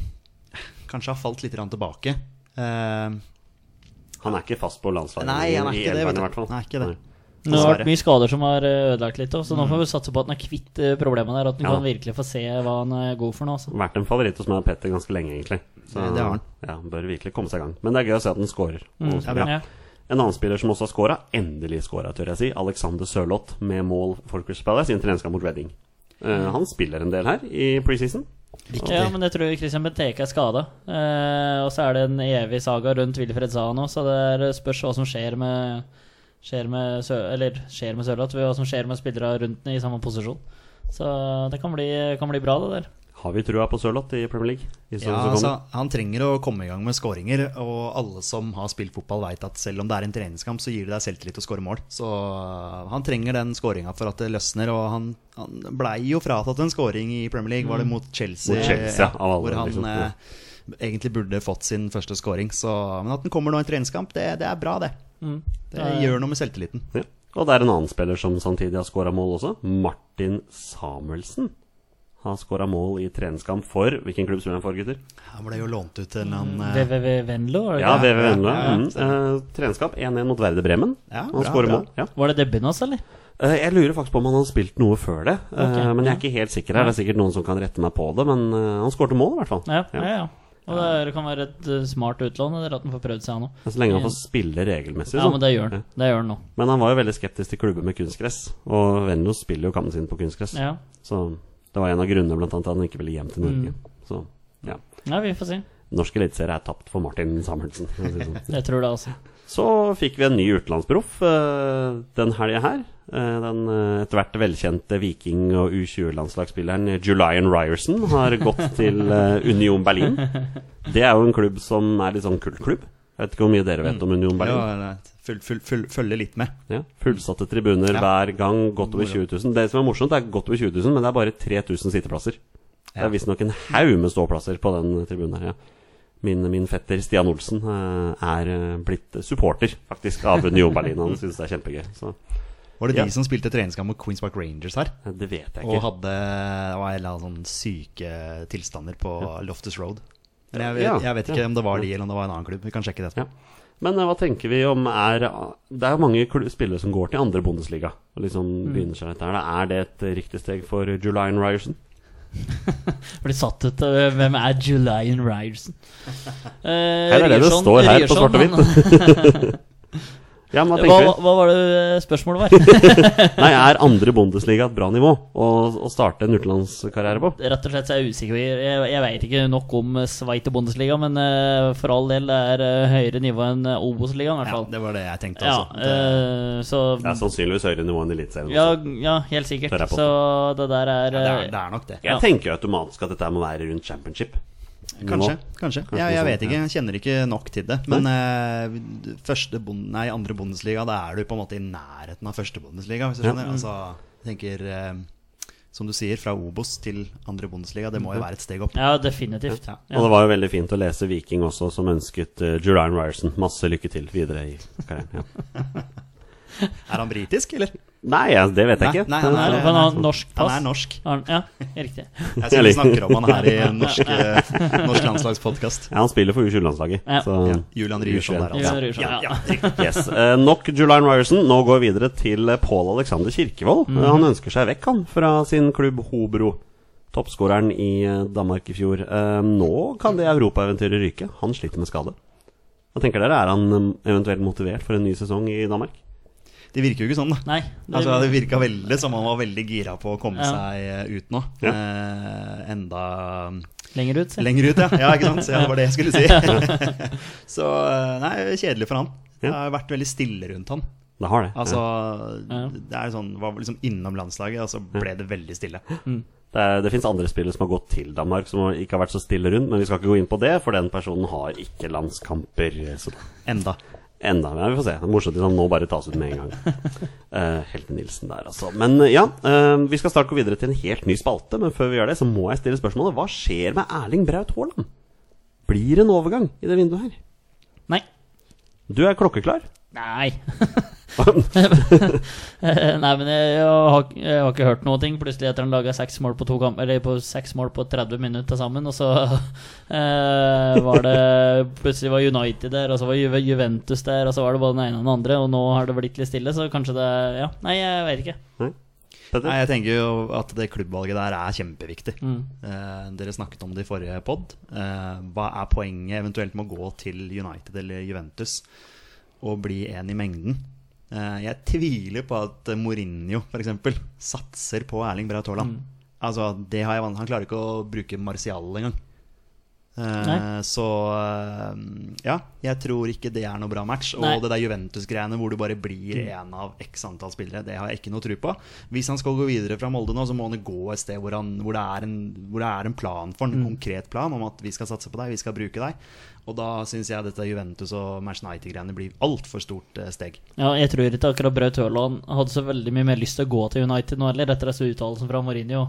C: kanskje har falt litt grann tilbake. Eh,
B: Han er ikke fast på landslaget
C: Nei, han er
B: i
C: ikke det,
B: elveren
C: vet du.
B: i hvert fall.
C: Han er ikke det.
D: det har
C: dessverre.
D: vært mye skader som har eh, ødelagt litt, også, så nå får vi satse på at han er kvitt eh, problemene der. At han
B: Mm. Ja.
D: kan virkelig få se hva han er god for nå. Altså.
B: Vært en favoritt hos meg og Petter ganske lenge, egentlig. Så
C: Det har han. Mm.
B: Ja, han bør virkelig komme seg i gang. Men det er gøy å se at han skårer. Og-
C: Ja, bra.
D: Mm. Ja.
B: En annen spiller som også har skåra, endelig skåra, tør jeg si, Alexander Sørloth med mål for Crystal Palace i en treningskamp mot Reading.
C: Mm.
B: Eh, han spiller en del her i preseason.
C: Viktig.
D: ja, men jeg tror Christian Benteke er skada. Eh, og så er det en evig saga rundt Wilfred Zaha nå, så det er eh, spørs hva som skjer med Skjer med, Sø eller skjer med Sørloth, hva som skjer med spillere rundt den i samme posisjon. Så det kan bli, kan bli bra, det der.
B: Har vi trua på Sørloth i Premier League? I
C: Ja,
B: ja,
C: altså, han trenger å komme i gang med skåringer, og alle som har spilt fotball vet at selv om det er en treningskamp, så gir det deg selvtillit å skåre mål. Så øh, han trenger den skåringa for at det løsner, og han, han blei jo fratatt en skåring i Premier League, var det mot Chelsea?
B: Mm. Mot Chelsea, ja, av alle,
C: hvor han
B: liksom, ja.
C: eh, egentlig burde fått sin første skåring. Så, men at den kommer nå i en treningskamp, det, det er bra, det.
D: Mm.
C: Det gjør noe med selvtilliten.
B: ja. Og det er en annen spiller som samtidig har skåra mål også. Martin Samuelsen har skåra mål i treningskamp for Hvilken klubb spiller han for, gutter?
C: Han ble jo lånt ut til en eller annen eh,
D: VVV Venlo? er det
B: Ja,
D: ikke?
B: VV Venlo.
C: ja, ja,
B: Mm. Eh, treningskamp 1-1 mot Verde Bremen.
C: Ja,
B: han
C: bra,
B: skårer
C: bra.
B: mål. Ja.
D: Var det debuten hans, eller?
B: Eh, Jeg lurer faktisk på om han har spilt noe før det. eh,
D: Ok,
B: men jeg
D: ja.
B: er ikke helt sikker her. Det er sikkert noen som kan rette meg på det. Men eh, han skårte mål, i hvert fall.
D: Ja, ja, ja. Og det er- det kan være et eh, smart utlån, eller at han får prøvd seg nå.
B: Men Så lenge han får spille regelmessig.
D: Ja,
B: så.
D: men det gjør han. Det gjør han nå.
B: Men han var jo veldig skeptisk til klubber med kunstgress, og Venlo spiller jo kampen sin på kunstgress.
D: Ja.
B: Så det var en av grunnene blant annet til at han ikke ville hjem til
D: Mm.
B: Norge. Så ja.
D: ja, vi får se.
B: Norsk eliteserie er tapt for Martin Samuelsen. for å si det sånn.
D: Jeg tror det, altså.
B: Så fikk vi en ny utenlandsproff eh, den helga her. Eh, Den eh, etter hvert velkjente viking- og U20-landslagsspilleren Julian Ryerson har gått til eh, Union Berlin. Det er jo en klubb som er litt sånn kultklubb. Jeg vet ikke hvor mye dere vet om Union Berlin.
C: Ja, full- full- full- Følge litt med.
B: Ja, Fullsatte tribuner
C: Ja.
B: hver gang, godt over 20 000. Det som er morsomt, det er godt over 20 000, men det er bare 3000 sitteplasser. Det er visstnok en haug med ståplasser på den tribunen her. Ja. Min, min fetter Stian Olsen eh, er eh, blitt supporter, faktisk, av Union Berlin. Han syns det er kjempegøy. Så
C: Var det de
B: Ja.
C: som spilte treningskamp mot Queens Park Rangers her?
B: eh, det vet jeg
C: Og
B: ikke.
C: hadde det var en eller annen sånn syke tilstander på Loftus Road. Men jeg
B: Ja,
C: vet, jeg vet ikke
B: ja.
C: om det var de, eller om det var en annen klubb. Vi kan sjekke det
B: Ja.
C: etterpå.
B: Men eh, hva tenker vi om er eh, Det er jo mange kl- spillere som går til andre Bundesliga og liksom begynner seg dette her. da. Er det et riktig steg for Julian Ryerson?
D: Blir satt ut av eh, hvem er Julian Ryerson? Eh,
B: Her er det det
D: Ryerson-
B: står her på
D: Ryerson,
B: svart og
D: han-
B: Ja, men hva
D: Hva,
B: tenker du?
D: hva var det eh, spørsmålet var?
B: Nei, er andre Bundesliga et bra nivå å, å starte en utenlandskarriere på?
D: Rett og slett så er jeg usikker. Jeg, jeg veit ikke nok om eh, Sveits og Bundesliga, men eh, for all del det er eh, høyere nivå enn eh, Obos-ligaen, i hvert
C: Ja,
D: fall.
C: det var det jeg tenkte
D: Ja,
C: også. Det-
D: eh, så
B: Det er sannsynligvis høyere nivå enn Eliteserien.
D: ja,
B: også.
D: ja, helt sikkert.
B: Tør jeg påstå.
D: Så det der er
C: det,
D: eh,
C: er, det er nok det.
B: Jeg tenker jo automatisk at dette må være rundt championship.
C: Kanskje.
B: Nå.
C: kanskje.
B: Kanskje sånn,
C: jeg,
B: noe
C: jeg
B: sånt,
C: vet ikke, jeg kjenner ikke nok til det. Men eh, første bond, nei, andre Bundesliga, da er du på en måte i nærheten av første Bundesliga, hvis du
B: Ja. Mm.
C: skjønner. Altså, jeg tenker, eh, som du sier, fra Obos til andre Bundesliga, det må
B: Mm.
C: jo være et steg opp.
D: Ja, definitivt.
C: Ja.
B: Og det var jo veldig fint å lese Viking også, som ønsket uh, Julian Ryerson masse lykke til videre i karrieren. Ja.
C: Er han britisk, eller?
B: Nei, ja, det vet jeg ikke.
C: Nei, nei, nei,
D: Han
C: nei,
D: har- han
C: nei.
D: har norsk pass.
C: Han er norsk.
D: Har han- Ja, riktig.
C: Jeg synes vi snakker om han her i en norsk, eh, norsk landslagspodkast.
B: Ja, han spiller for U20-landslaget.
D: Ja.
B: så-
C: Ja, Julian Ryerson der,
D: Julian
C: altså.
D: Ryerson,
C: Ja,
D: ja.
C: ja, riktig.
B: Yes. Eh, nok Julian Ryerson. Nå går vi videre til eh, Pål Alexander Kirkevold. Eh, han ønsker seg vekk, han, fra sin klubb Hobro. Toppskåreren i eh, Danmark i fjor. Eh, nå kan det europaeventyret ryke. Han sliter med skade. Hva tenker dere? Er han eh, eventuelt motivert for en ny sesong i Danmark?
C: Det virker jo ikke sånn, da.
D: Nei. det-
C: Altså, det virka veldig som han var veldig gira på å komme
D: Ja.
C: seg eh, ut nå.
B: Ja.
C: Eh, enda eh,
D: Lenger ut, si.
C: Lenger ut, ja. ja ikke sant? Så ja, det var det jeg skulle si. Så eh, nei, kjedelig for han. Det har vært veldig stille rundt han.
B: Det har det. Eh,
C: Altså,
D: Ja.
C: det er sånn, Var liksom innom landslaget, og så ble det veldig stille.
B: Det, er- det fins andre spillere som har gått til Danmark som ikke har vært så stille rundt, men vi skal ikke gå inn på det, for den personen har ikke landskamper. eh, Så
C: Enda.
B: Enda, men vi får se. Det er morsomt hvis han nå bare tas ut med en gang. Eh, Helt Nilsen der, altså. Men eh, ja, eh, vi skal snart gå videre til en helt ny spalte. Men før vi gjør det, så må jeg stille spørsmålet hva skjer med Erling Braut Haaland? Blir det en overgang i det vinduet her?
D: Nei.
B: Du er klokkeklar.
D: Nei. Eh, Nei, men jeg har, jeg har ikke hørt noe. ting. Plutselig etter han laga seks mål på to kamp, eller på seks mål på 30 minutter til sammen, og så eh, var det Plutselig var United der, og så var Ju- Juventus der, og så var det både den ene og den andre, og nå har det blitt litt stille, så kanskje det Ja, nei, jeg vet ikke.
B: Nei? Petter?
C: Nei, Jeg tenker jo at det klubbvalget der er kjempeviktig. Eh, dere snakket om det i forrige pod. Eh, hva er poenget eventuelt med å gå til United eller Juventus og bli en i mengden? Eh, jeg tviler på at Mourinho f.eks. satser på Erling Braut Haaland. Altså, det har jeg van- Han klarer ikke å bruke Martial engang. Eh,
D: Nei.
C: så eh, ja, jeg tror ikke det er noe bra match. Og
D: Nei. Mm.
C: det der Juventus-greiene hvor du bare blir en av x antall spillere, det har jeg ikke noe tro på. Hvis han skal gå videre fra Molde nå, så må han jo gå et sted hvor, han, hvor, det, er en, hvor det er en plan for han, en
D: Mm.
C: konkret plan om at vi skal satse på deg, vi skal bruke deg. Og da syns jeg dette Juventus og Manchester United-greiene blir altfor stort eh, steg.
D: Ja, jeg tror ikke akkurat Braut Haaland hadde så veldig mye mer lyst til å gå til United nå heller, etter disse uttalelsene fra Mourinho.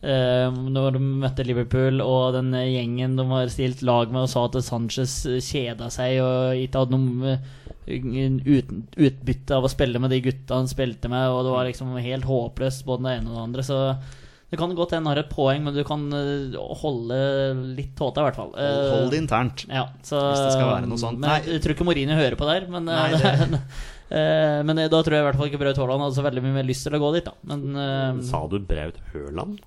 D: Eh, når de møtte Liverpool og den gjengen de har stilt lag med og sa at Sanchez kjeda seg og ikke hadde noe eh, ut, utbytte av å spille med de gutta han spilte med, og det var liksom helt håpløst, både det ene og det andre. Så det kan godt hende han har et poeng, men du kan eh, holde litt tåta, i hvert fall.
C: Hold, hold
D: Eh,
C: det internt.
D: ja, så,
C: Hvis det skal være noe sånt.
D: Men
C: Nei.
D: jeg tror ikke Mourinho hører på der. Men,
C: Nei,
D: eh, eh, men eh, da tror jeg i hvert fall ikke Braut Haaland hadde så veldig mye mer lyst til å gå dit. Da. Men, eh,
B: Sa du Braut Høland?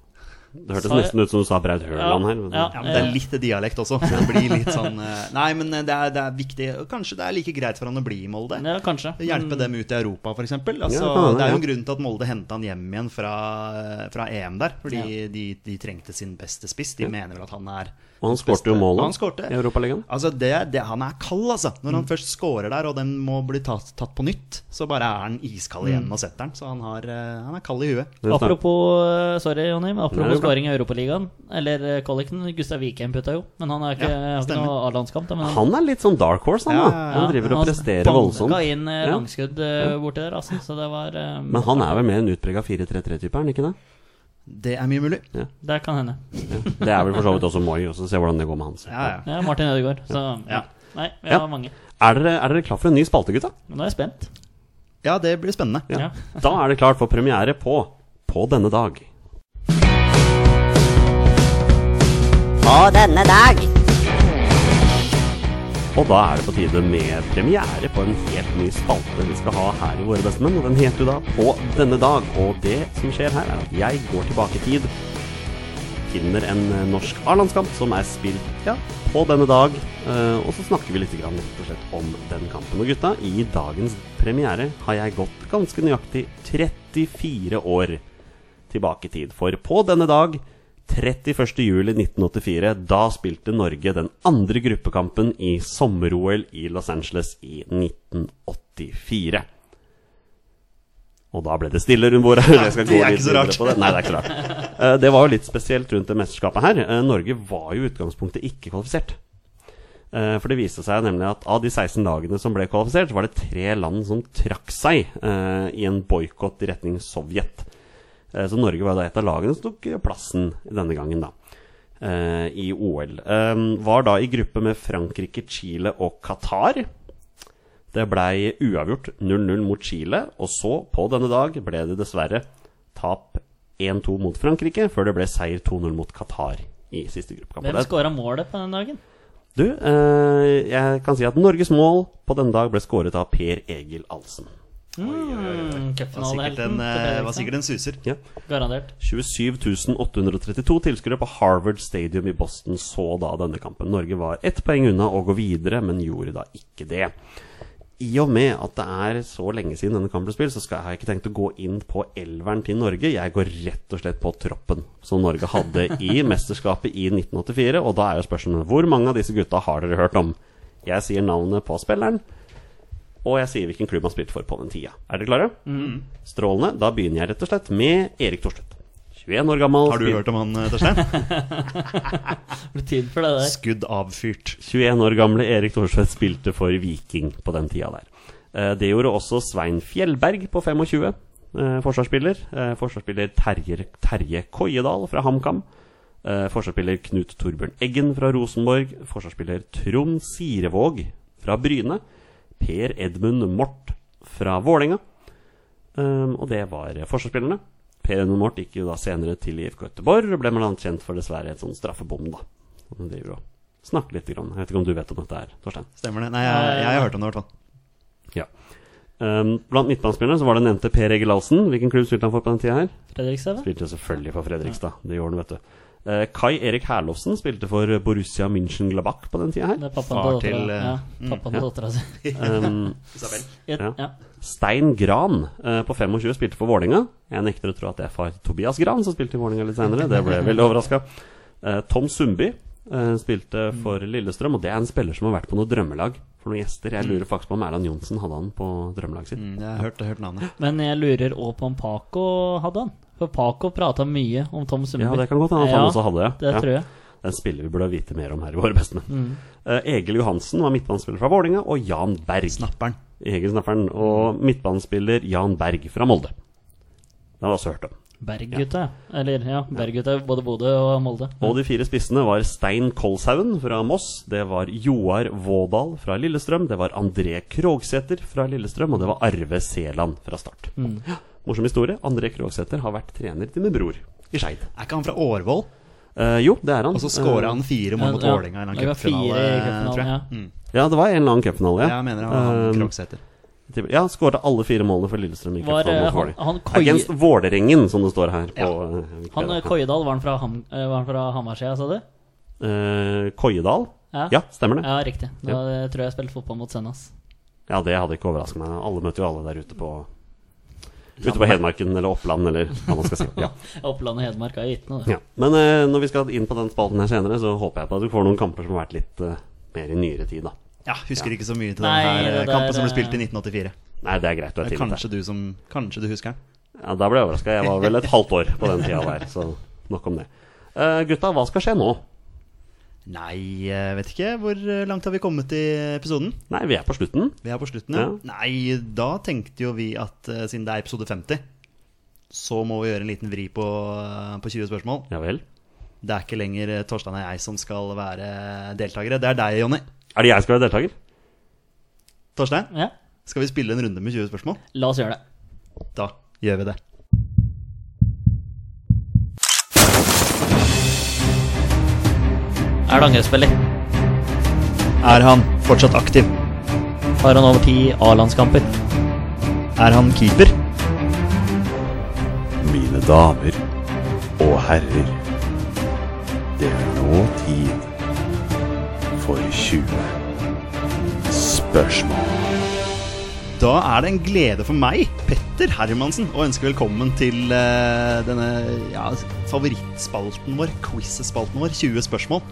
B: Det hørtes
D: Sa jeg-
B: nesten ut som du sa Braut Høland her. men-
D: Ja,
C: Ja, men Det er litt dialekt også. så Det blir litt sånn eh, Nei, men det er, det er viktig. og Kanskje det er like greit for han å bli i Molde.
D: ja, kanskje.
C: Hjelpe dem ut i Europa, f.eks. Altså,
B: Ja, det kan hende,
C: det er jo
B: ja.
C: en grunn til at Molde henta han hjem igjen fra, fra EM der. Fordi de, de trengte sin beste spiss. De mener vel at han er
B: Og han skårte jo
C: beste-
B: målet
C: Og Han skårte.
B: i Europaligaen. Mm.
C: Altså det, det, han er kald, altså. Når han først scorer der, og den må bli tatt, tatt på nytt, så bare er han iskald igjen
B: Mm.
C: og setter den. Så han, har, eh, han er kald i huet.
B: Det er snart-
D: Apropos eh, sorry, Jonny, men
B: Nei, det
D: apropos
B: er bra.
D: skåring i Europaligaen, eller eh, Collecten, Gustav Wikheim putta jo, men han har
C: Ja,
D: ikke, har ikke
C: stemmer.
D: noe A-landskamp. da, men han-
B: Han er litt sånn dark horse, han da.
C: Ja,
B: Han driver og presterer
D: banka
B: voldsomt.
D: inn eh,
B: Ja.
D: langskudd eh, borti der, altså. Så det var eh,
B: Men han er vel mer en utprega 4-3-3-type, er han ikke det?
C: Det er mye mulig.
D: Det kan hende.
B: Det er vel for så vidt også Moi, og så se hvordan det går med hans.
C: Ja, ja.
D: Ja, Martin Ødegaard. Så
C: Ja.
D: Nei, vi
B: Ja.
D: har mange.
B: Er, dere, er dere klar for en ny spalte, gutta?
D: Men nå er jeg spent.
C: ja, det blir spennende.
D: Ja.
B: Da er det klart for premiere på På denne dag.
E: På denne dag.
B: Og da er det på tide med premiere på en helt ny spalte vi skal ha her i Våre bestemenn. Og den heter jo da På denne dag. Og det som skjer her, er at jeg går tilbake i tid finner en eh, norsk A-landskamp som er spilt ja, på denne dag. Eh, og så snakker vi litt grann, rett og slett om den kampen. Og gutta, i dagens premiere har jeg gått ganske nøyaktig 34 år tilbake i tid. For på denne dag, 31.07.1984, da spilte Norge den andre gruppekampen i sommer-OL i Los Angeles i 1984. Og da ble det stille rundt bordet. Jeg skal gå
C: det er
B: litt
C: ikke så
B: videre
C: rart.
B: på det. Nei, det er ikke så rart. Eh, Det var jo litt spesielt rundt det mesterskapet her. Eh, Norge var jo i utgangspunktet ikke kvalifisert. Eh, For det viste seg nemlig at av de 16 lagene som ble kvalifisert, så var det tre land som trakk seg eh, i en boikott i retning Sovjet. Eh, Så Norge var da et av lagene som tok eh, plassen denne gangen, da. eh, I OL. Eh, Var da i gruppe med Frankrike, Chile og Qatar. Det blei uavgjort 0-0 mot Chile, og så, på denne dag, ble det dessverre tap 1-2 mot Frankrike, før det ble seier 2-0 mot Qatar i siste gruppekamp.
D: Hvem
B: Det-
D: skåra målet på den dagen?
B: du, eh, jeg kan si at Norges mål på denne dag ble skåret av Per Egil Alsen.
D: Mm,
C: Det var sikkert en, eh, var sikkert en suser.
B: Ja.
D: Garantert.
B: 27 832 tilskuere på Harvard Stadium i Boston så da denne kampen. Norge var ett poeng unna å gå videre, men gjorde da ikke det. I og med at det er så lenge siden denne kampen ble spilt, så skal, har jeg ikke tenkt å gå inn på elveren til Norge. Jeg går rett og slett på troppen som Norge hadde i mesterskapet i 1984. Og da er jo spørsmålet hvor mange av disse gutta har dere hørt om? Jeg sier navnet på spilleren, og jeg sier hvilken klubb han spilte for på den tida. Er dere klare?
C: Mm.
B: Strålende. Da begynner jeg rett og slett med Erik Thorstvedt. 21 år gammel.
C: Har du
B: spil-
C: hørt om han, eh, Torstein?
D: Det blir tid for det der.
C: Skudd avfyrt.
B: 21 år gamle Erik Thorsvedt spilte for Viking på den tida der. Eh, Det gjorde også Svein Fjellberg på 25, eh, forsvarsspiller. Eh, Forsvarsspiller Terje, Terje Koiedal fra HamKam. Eh, Forsvarsspiller Knut Torbjørn Eggen fra Rosenborg. Forsvarsspiller Trond Sirevåg fra Bryne. Per Edmund Mort fra Vålerenga. Um, og det var forsvarsspillerne. Per Edmund Mort gikk jo da senere til IFK Göteborg og ble bl.a. kjent for dessverre et sånn straffebom, da. Han driver og snakker litt. Grann. Jeg vet ikke om du vet om dette her, Torstein?
C: Stemmer det? Nei, jeg, jeg har hørt om det, i hvert fall.
B: Ja. Um, blant midtbanespillerne så var det nevnte Per Egil Ahlsen. Hvilken klubb spilte han for på den tida her?
D: Fredrikstad, vet du.
B: Spilte selvfølgelig for Fredrikstad. Det gjorde han, vet du. Eh, Kai Erik Herlovsen spilte for Borussia München-Glabach på den tida her.
D: Det er pappaen
C: Far
D: til
C: til,
D: dattera.
C: eh,
D: Ja, pappaen til dattera si.
B: Um,
D: Ja.
B: Ja. Stein Gran eh, på 25 spilte for Vålerenga. Jeg nekter å tro at det er far Tobias Gran som spilte i Vålerenga litt senere. Det ble jeg veldig overraska. Eh, Tom Sundby eh, spilte for Lillestrøm, og det er en spiller som har vært på noe drømmelag for noen gjester. Jeg lurer faktisk på om Erland Johnsen hadde han på drømmelaget sitt.
C: Mm, Jeg har hørt, hørt navnet.
D: Men jeg lurer også på om Paco hadde han. For Paco prata mye om Tom Sundby.
B: Ja, det kan godt hende at han
D: Ja,
B: også hadde det.
D: Det
B: Ja.
D: tror jeg. Mm.
B: Den spiller vi burde vite mer om her i Våre beste menn. Eh, Egil Johansen var midtbanespiller fra Vålerenga, og Jan Berg.
C: Snapperen.
B: Egil Snapperen. Og midtbanespiller Jan Berg fra Molde. Det har vi også hørt om.
D: Berggutta. Eller ja, Berggutta. Både Bodø og Molde.
B: Og de fire spissene var Stein Kolshaugen fra Moss, det var Joar Vådal fra Lillestrøm, det var André Krogsæter fra Lillestrøm, og det var Arve Seland fra Start.
D: Mm.
B: Ja, morsom historie. André Krogsæter har vært trener til min bror i Skeid.
C: Er ikke han fra Årvoll?
B: Eh, jo, det er han.
C: Og så scora
B: Eh,
C: han fire mål mot
D: Ja, ja.
C: Vålerenga i en
D: Det var fire i
C: cupfinale,
D: cupfinalen,
C: tror jeg.
D: ja.
C: Mm.
B: Eh, Ja, Um, det var en eller annen cupfinale.
C: Jeg mener det var han Krogsæter.
B: Til- Ja, skåra alle fire målene for Lillestrøm i
D: Var,
B: cupfinalen
D: eh,
B: mot
D: han,
B: Vålerenga.
D: han, Koi-
B: Against Vålerengen, som det står her. På,
D: han eh, Koidal, var han fra, ham, eh, var han fra Hamarsia, sa du?
B: Eh, Koiedal?
D: Ja.
B: Ja, stemmer det.
D: Ja, riktig. Da
B: Ja.
D: eh, tror jeg jeg spilte fotball mot Sennas.
B: Ja, det hadde ikke overrasket meg. Alle møter jo alle der ute på Ute på Hedmarken eller Oppland eller hva man skal si. Ja.
D: Oppland og Hedmark har gitt noe. det.
B: Ja. Men eh, når vi skal inn på den spalten her senere, så håper jeg på at du får noen kamper som har vært litt eh, mer i nyere tid, da.
C: Ja, husker ikke så mye til
D: Nei,
C: den her
D: det
C: eh,
D: der,
C: kampen som ble
D: eh,
C: spilt i 1984.
B: Nei, det er greit. Du
C: Det
B: er
C: er
B: tidlig der.
C: kanskje du som Kanskje du husker den?
B: Ja, da ble jeg overraska. Jeg var vel et halvt år på den tida der, så nok om det. Eh, gutta, hva skal skje nå?
C: Nei, jeg vet ikke. Hvor eh, langt har vi kommet i episoden?
B: Nei, vi er på slutten.
C: Vi er på slutten, ja.
B: Ja.
C: Nei, da tenkte jo vi at eh, siden det er episode 50, så må vi gjøre en liten vri på, eh, på 20 spørsmål.
B: Ja vel.
C: Det er ikke lenger eh, Torstein og jeg som skal være deltakere. Det er deg, Jonny.
B: Er det jeg som skal være deltaker?
C: Torstein,
D: Ja.
C: skal vi spille en runde med 20 spørsmål?
D: La oss gjøre det.
C: Da gjør vi det.
D: Er det angrepsspiller?
C: Er han fortsatt aktiv?
D: Har han over ti A-landskamper?
C: Er han keeper?
F: Mine damer og herrer, Det er nå tid for 20 spørsmål.
C: Da er det en glede for meg, Petter Hermansen, å ønske velkommen til eh, denne ja, favorittspalten vår, quiz-spalten vår, 20 spørsmål.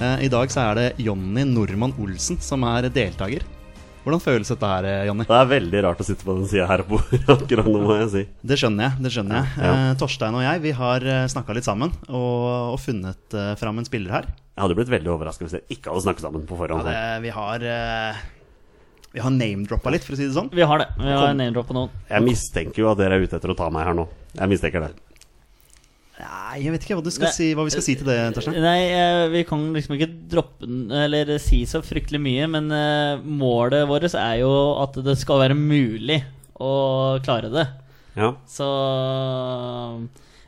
C: Eh, I dag så er det Jonny Normann Olsen som er deltaker. Hvordan føles dette her, eh, Jonny?
B: Det er veldig rart å sitte på den sida her på akkurat nå, må jeg si.
C: Det skjønner jeg. det skjønner jeg.
B: Ja.
C: Eh, Torstein og jeg vi har snakka litt sammen og, og funnet eh, fram en spiller her.
B: Jeg hadde blitt veldig overraska hvis dere ikke hadde snakket sammen på forhånd.
C: Det,
B: her.
C: vi har, eh, vi har name-droppa litt, for å si det sånn.
D: Vi har det. Vi har en name-drop på noen.
B: Jeg mistenker jo at dere er ute etter å ta meg her nå. Jeg mistenker det.
C: Nei, jeg vet ikke hva, du skal
D: Nei.
C: si, hva vi skal si til det, Torstein.
D: Nei, eh, vi kan liksom ikke droppe den, eller si så fryktelig mye, men eh, målet vårt er jo at det skal være mulig å klare det.
B: Ja.
D: Så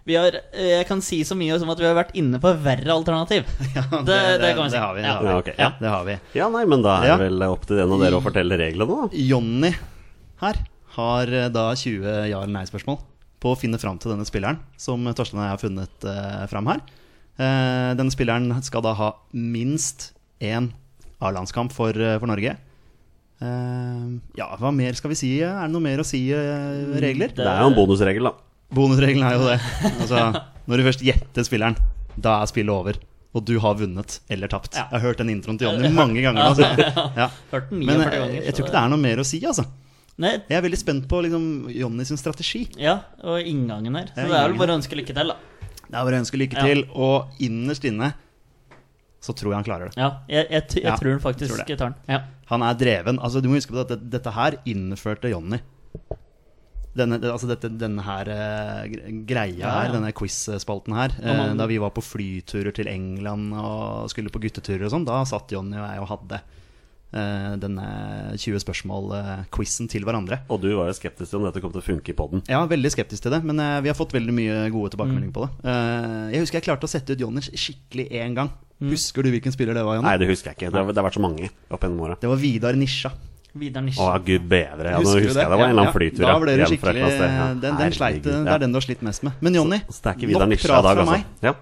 D: vi har, eh, Jeg kan si så mye som at vi har vært inne på et verre alternativ.
C: Ja,
D: det, det kan vi si.
C: det har vi. Det
D: Ja.
C: har vi.
B: Ja, ok, ja.
C: ja, det har vi.
B: ja, nei, men da er
C: Ja.
B: det vel opp til en av dere å fortelle reglene, da.
C: Jonny her har eh, da 20 ja- eller nei-spørsmål på å finne fram til denne spilleren som Torstein og jeg har funnet eh, fram her. Eh, denne spilleren skal da ha minst én A-landskamp for, eh, for Norge. Eh, ja, hva mer skal vi si? eh? Er det noe mer å si eh, regler?
B: Det er jo en bonusregel, da.
C: Bonusregelen er jo det. Altså, når du først gjetter spilleren, da er spillet over. Og du har vunnet eller tapt. Jeg har hørt den introen til Jonny mange ganger. Altså. Ja.
D: Hørt den
C: Men
D: 49
C: eh,
D: ganger.
C: jeg tror ikke det er noe mer å si, altså.
D: Nei,
C: Jeg er veldig spent på liksom, Jonny sin strategi.
D: ja, og inngangen her.
C: Ja,
D: Så det er
C: inngangen.
D: vel bare å ønske lykke til, da.
C: Det er bare å ønske lykke
D: Ja.
C: til, og innerst inne så tror jeg han klarer det.
D: Ja, jeg, jeg, t- jeg
C: Ja,
D: tror den faktisk
C: tror det.
D: tar den. Ja.
C: Han er dreven. Altså, du må huske på at dette, dette her innførte Jonny. Denne, det- altså dette, denne her eh, gre- greia
D: Ja, ja.
C: her, denne quiz-spalten her. eh,
D: man-
C: da vi var på flyturer til England og skulle på gutteturer og sånn, da satt Jonny og jeg og hadde eh, denne 20 spørsmål-quizen til hverandre.
B: Og du var jo skeptisk til om dette kom til å funke i poden.
C: Ja, veldig skeptisk til det, men eh, vi har fått veldig mye gode
D: Mm.
C: tilbakemeldinger på det. Eh, jeg husker jeg klarte å sette ut Jonny skikkelig én gang.
D: Mm.
C: Husker du hvilken spiller det var, Jonny?
B: Nei, det husker jeg ikke. Det har, det har vært så mange opp gjennom åra.
C: Det var Vidar Nisja.
D: Vidar Nisje.
B: Å, gud bedre. Ja, nå husker jeg det var en eller annen flytur.
C: Da
B: ja,
C: ble du
B: hjem fra et
C: skikkelig
B: eller annet sted. Ja,
C: Den, den sleit,
B: herregud,
C: det
B: ja.
C: er den du har slitt mest med. Men Jonny,
B: Så det er ikke Vidar
C: nok
B: Nisje i
C: prat
B: dag,
C: fra
B: altså.
C: meg.
B: Ja.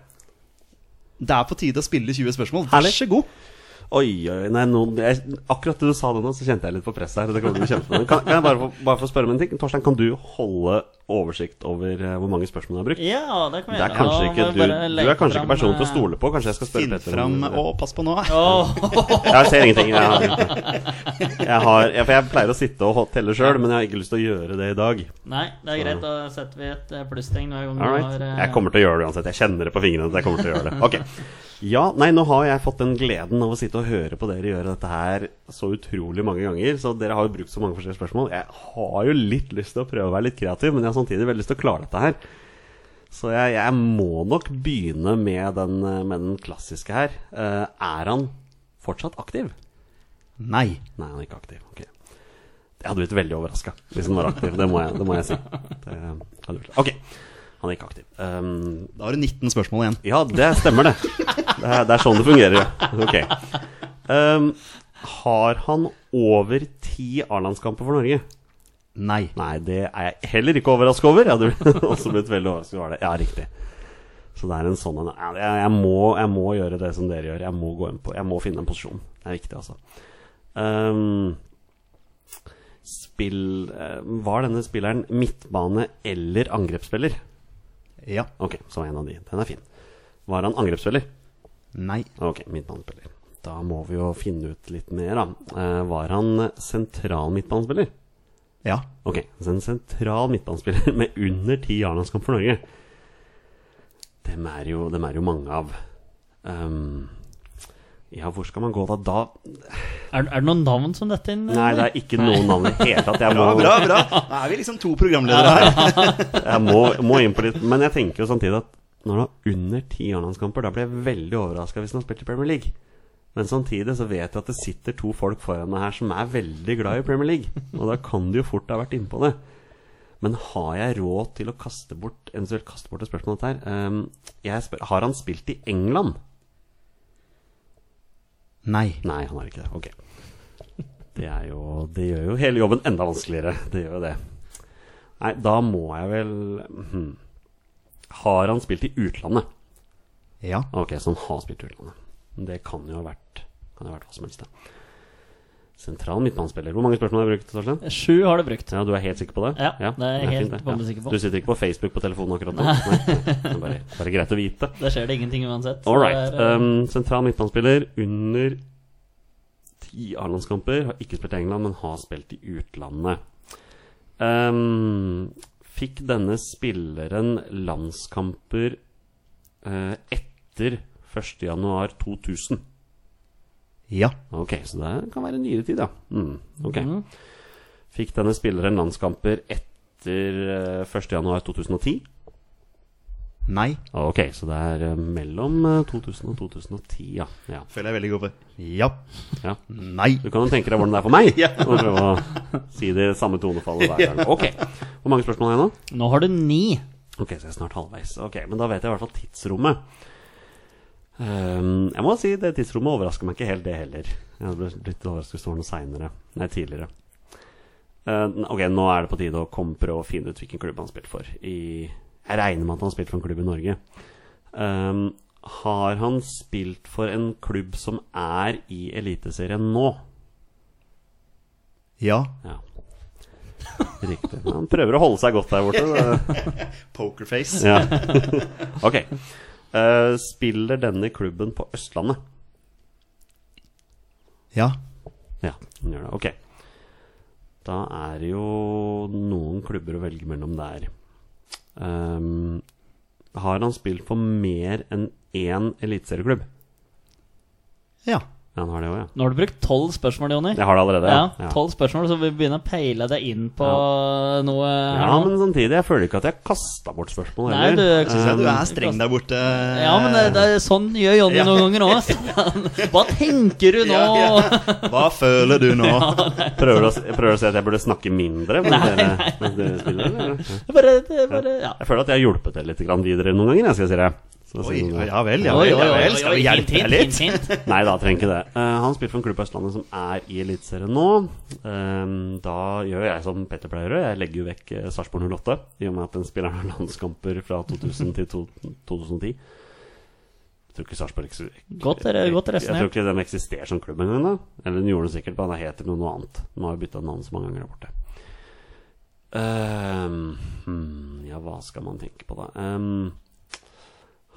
C: Det er på tide å spille 20 spørsmål. Vær
B: Herlig.
C: så god.
B: Oi, oi, nei, nå, jeg, akkurat da du sa det nå, så kjente jeg litt på presset her. og Det kommer til å bli kjempespennende. Kan, kan jeg bare få, bare få spørre om en ting? Torstein, kan du holde oversikt over eh, hvor mange spørsmål du har brukt?
D: Ja, det kan vi
B: Det er
D: gjøre.
B: kanskje
D: Da må
B: ikke,
D: vi
B: du,
D: bare
B: du
D: lete
B: er kanskje ikke
D: fram,
B: personen til å
D: eh,
B: stole på? Kanskje jeg skal spørre
C: Finn
B: Petter
C: fram
B: om
C: Å, pass på nå.
D: Åh,
B: Jeg ser ingenting. Jeg, har- jeg, har, jeg, for jeg pleier å sitte og telle sjøl, men jeg har ikke lyst til å gjøre det i dag.
D: Nei, det er greit. Da setter vi et eh, plusstegn hver gang
B: All
D: du
B: right.
D: har eh,
B: Jeg kommer til å gjøre det uansett. Jeg kjenner det på fingrene. at Jeg kommer til å gjøre det Ok Ja, nei, Nå har jeg fått den gleden av å sitte og høre på dere gjøre dette her så utrolig mange ganger. Så dere har jo brukt så mange forskjellige spørsmål. Jeg har jo litt lyst til å prøve å være litt kreativ, men jeg har samtidig veldig lyst til å klare dette her. Så jeg, jeg må nok begynne med den, eh, med den klassiske her. Eh, er han fortsatt aktiv?
C: Nei.
B: Nei, han er ikke aktiv. Ok Jeg hadde blitt veldig overraska hvis han var aktiv. Det må jeg, det må jeg si. Det hadde blitt. Ok, han er ikke aktiv. Um,
C: Da har du 19 spørsmål igjen.
B: ja, det stemmer det. Det er, det er sånn det fungerer, ja. Ok. Um, har han over ti A-landskamper for Norge?
C: Nei.
B: Nei, det er jeg heller ikke overraska over. Jeg hadde også blitt veldig overraska over det. Ja, riktig. Så det er en sånn en Ja, jeg, jeg, må, jeg må gjøre det som dere gjør. Jeg må gå inn på Jeg må finne en posisjon. Det er viktig, altså. Um, spill eh, Var denne spilleren midtbane- eller angrepsspiller?
C: Ja.
B: Ok, så var en av de. Den er fin. Var han angrepsspiller?
C: Nei.
B: Ok, midtbanespiller. Da må vi jo finne ut litt mer, da. Eh, var han sentral midtbanespiller?
C: Ja.
B: Ok, så en sentral midtbanespiller med under ti A-landskamp for Norge. Dem er jo, dem er jo mange av. Ehm, ja, hvor skal man gå da? Da
D: Er, er det noen navn som dette inn?
B: Nei, det er ikke noen navn i det hele tatt. Jeg
C: Bra,
B: må,
C: bra, bra. Da er vi liksom to programledere her.
B: jeg må, må inn på litt Men jeg tenker jo samtidig at når han har under ti A-landskamper, da blir jeg veldig overraska hvis han har spilt i Premier League. Men samtidig så vet jeg at det sitter to folk foran meg her som er veldig glad i Premier League. Og da kan de jo fort ha vært innpå det. Men har jeg råd til å kaste bort eventuelt kaste bort et spørsmål om dette her? Ehm, jeg spør, har han spilt i England?
C: Nei.
B: Nei, han har ikke det. Ok. Det, er jo, det gjør jo hele jobben enda vanskeligere. Det gjør jo det. Nei, da må jeg vel hmm. Har han spilt i utlandet?
C: Ja.
B: Ok, så han har spilt i utlandet. Men Det kan jo ha vært Kan jo ha vært hva som helst, det. Sentral midtbanespiller. Hvor mange spørsmål har jeg brukt? Torstein?
D: Sju har du brukt.
B: Ja, Du er helt sikker på det?
D: Ja, det er jeg helt
B: det.
D: bombesikker på.
B: Du sitter ikke på Facebook på telefonen akkurat nå? Nei. Det er bare, bare greit å vite.
D: Der skjer det ingenting uansett. så
B: All
D: det
B: right.
D: er, eh,
B: Um, sentral midtbanespiller under ti A-landskamper. Har ikke spilt i England, men har spilt i utlandet. Um, fikk denne spilleren landskamper eh, etter 1.1.2000?
C: ja.
B: Ok, så det kan være nyere tid, ja. Mm, ok.
D: Mhm.
B: Fikk denne spilleren landskamper etter eh, 1.1.2010?
C: Nei.
B: Ok, så det er eh, mellom eh, 2000 og 2010, ja. ja.
C: Føler jeg veldig god for. Ja.
B: Ja.
C: Nei.
B: Du kan jo tenke deg hvordan det er for meg
C: Ja.
B: å prøve å si det i samme tonefallet hver gang. Ok, Hvor mange spørsmål har jeg nå?
D: Nå har du ni.
B: Ok, så jeg er snart halvveis. Ok, Men da vet jeg i hvert fall tidsrommet. Ehm, jeg må si det tidsrommet overrasker meg ikke helt, det heller. Jeg ble litt overrasket hvis det var noe seinere. Nei, tidligere. Eh, ok, nå er det på tide å komme prøve å finne ut hvilken klubb han har spilt for. I, jeg regner med at han har spilt for en klubb i Norge. Ehm, har han spilt for en klubb som er i Eliteserien nå?
C: Ja.
B: Ja. Riktig. Han prøver å holde seg godt der borte. det-
C: Pokerface.
B: Ja. Ok. Eh, spiller denne klubben på Østlandet?
C: Ja.
B: Ja, den gjør det. Ok. Da er det jo noen klubber å velge mellom der. Ehm, har han spilt for mer enn én eliteserieklubb?
C: Ja.
B: Ja, han har det òg, ja.
D: Nå har du brukt tolv spørsmål, Jonny.
B: Jeg har det allerede.
D: Ja,
B: ja.
D: tolv spørsmål, så vi begynner å peile deg inn på noe her
B: Ja,
D: nå.
B: men samtidig, jeg føler ikke at jeg kasta bort spørsmål
D: Nei,
B: heller. Um,
D: du-
C: Syns jeg du er streng der borte.
D: Ja, men det, det, er- sånn gjør Jonny
C: Ja.
D: noen ganger òg. Hva tenker du nå?
C: Ja, Hva føler du nå?
B: Prøver du å, s- prøver du å si at jeg burde snakke mindre? Nei, nei. Mens dere spiller, eller? Ja.
D: Bare, det, bare, ja.
B: Jeg føler at jeg har hjulpet deg litt grann videre noen ganger. Jeg skal si det. Så
C: Oi,
B: siden det-
C: ja vel, ja vel. Ja vel. Skal vi hjelpe deg litt?
D: Hint, hint.
B: Nei da, trenger ikke det. Eh, han spiller for en klubb på Østlandet som er i Eliteserien nå. Eh, da gjør jeg som Petter pleier å gjøre, jeg legger jo vekk uh, Sarpsborg 08. I og med at den spilleren har landskamper fra 2000 til to, 2010. Jeg tror ikke Sarpsborg eksis-
D: Godt, dere- godt
B: Jeg tror
D: resonert.
B: ikke den eksisterer som klubb engang. da. Eller den gjorde den sikkert, men den heter noe annet. Den har jo bytta navn så mange ganger der borte. Ehm, hmm, ja, hva skal man tenke på, da? Ehm,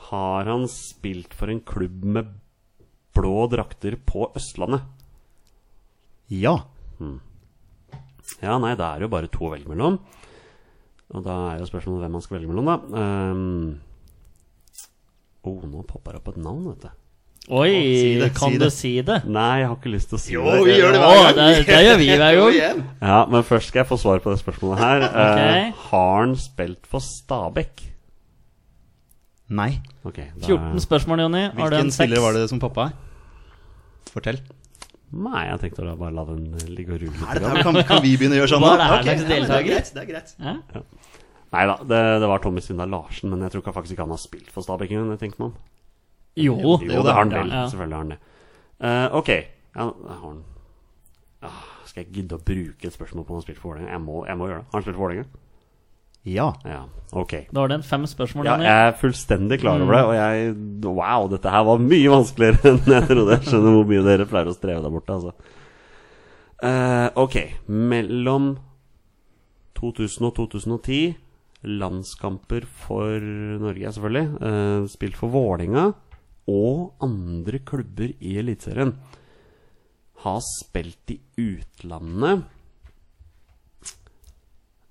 B: har han spilt for en klubb med blå drakter på Østlandet?
C: Ja.
B: Ja, nei, det er jo bare to å velge mellom. Og da er jo spørsmålet hvem man skal velge mellom, da. Ehm, oh, nå popper det opp et navn, vet du.
D: Oi,
C: Si det,
D: kan
C: si
D: du
C: det.
D: si det?
B: Nei, jeg har ikke lyst til å si
C: Jo,
B: det.
C: vi gjør det hver
D: Å,
C: gang.
D: det, det gjør vi hver gang.
B: Ja, men først skal jeg få svar på det spørsmålet her. Eh,
D: Ok.
B: har han spilt for Stabæk?
C: Nei.
B: Ok, da-
D: 14 spørsmål, Jonny. Har du
C: Hvilken
D: en
C: spiller var
D: seks?
C: det som poppa? Fortell.
B: Nei, jeg tenkte å bare la den eh, ligge og rule litt.
C: Er dette, her- kan, kan vi begynne å gjøre sånn, da?
D: Hva er det her
C: Ok,
D: slags
C: ja, men det er
D: deltaker?
C: greit, Det er greit.
D: Ja?
B: Nei da, det, det var Tommy Svinda Larsen, men jeg tror ikke faktisk ikke han har spilt for Stabæk engang. det tenker man.
D: Jo.
B: Jo, det har han
D: Ja,
B: vel.
D: ja.
B: Selvfølgelig har han det. Eh, ok. Ja, har han ah, Skal jeg gidde å bruke et spørsmål på om han har spilt for Vålerenga? Jeg, må- jeg må gjøre det. Har han spilt for Vålerenga?
C: Ja.
B: Ja, ok.
D: Da har du en fem spørsmål,
B: Ja,
D: Jonny. Mm.
B: jeg er fullstendig klar over det, og jeg Wow, dette her var mye vanskeligere enn jeg trodde. Jeg skjønner hvor mye dere pleier å streve der borte, altså. Eh, ok. Mellom 2000 og 2010, landskamper for Norge, selvfølgelig. eh, spilt for Vålinga og andre klubber i Eliteserien. Har spilt i utlandet.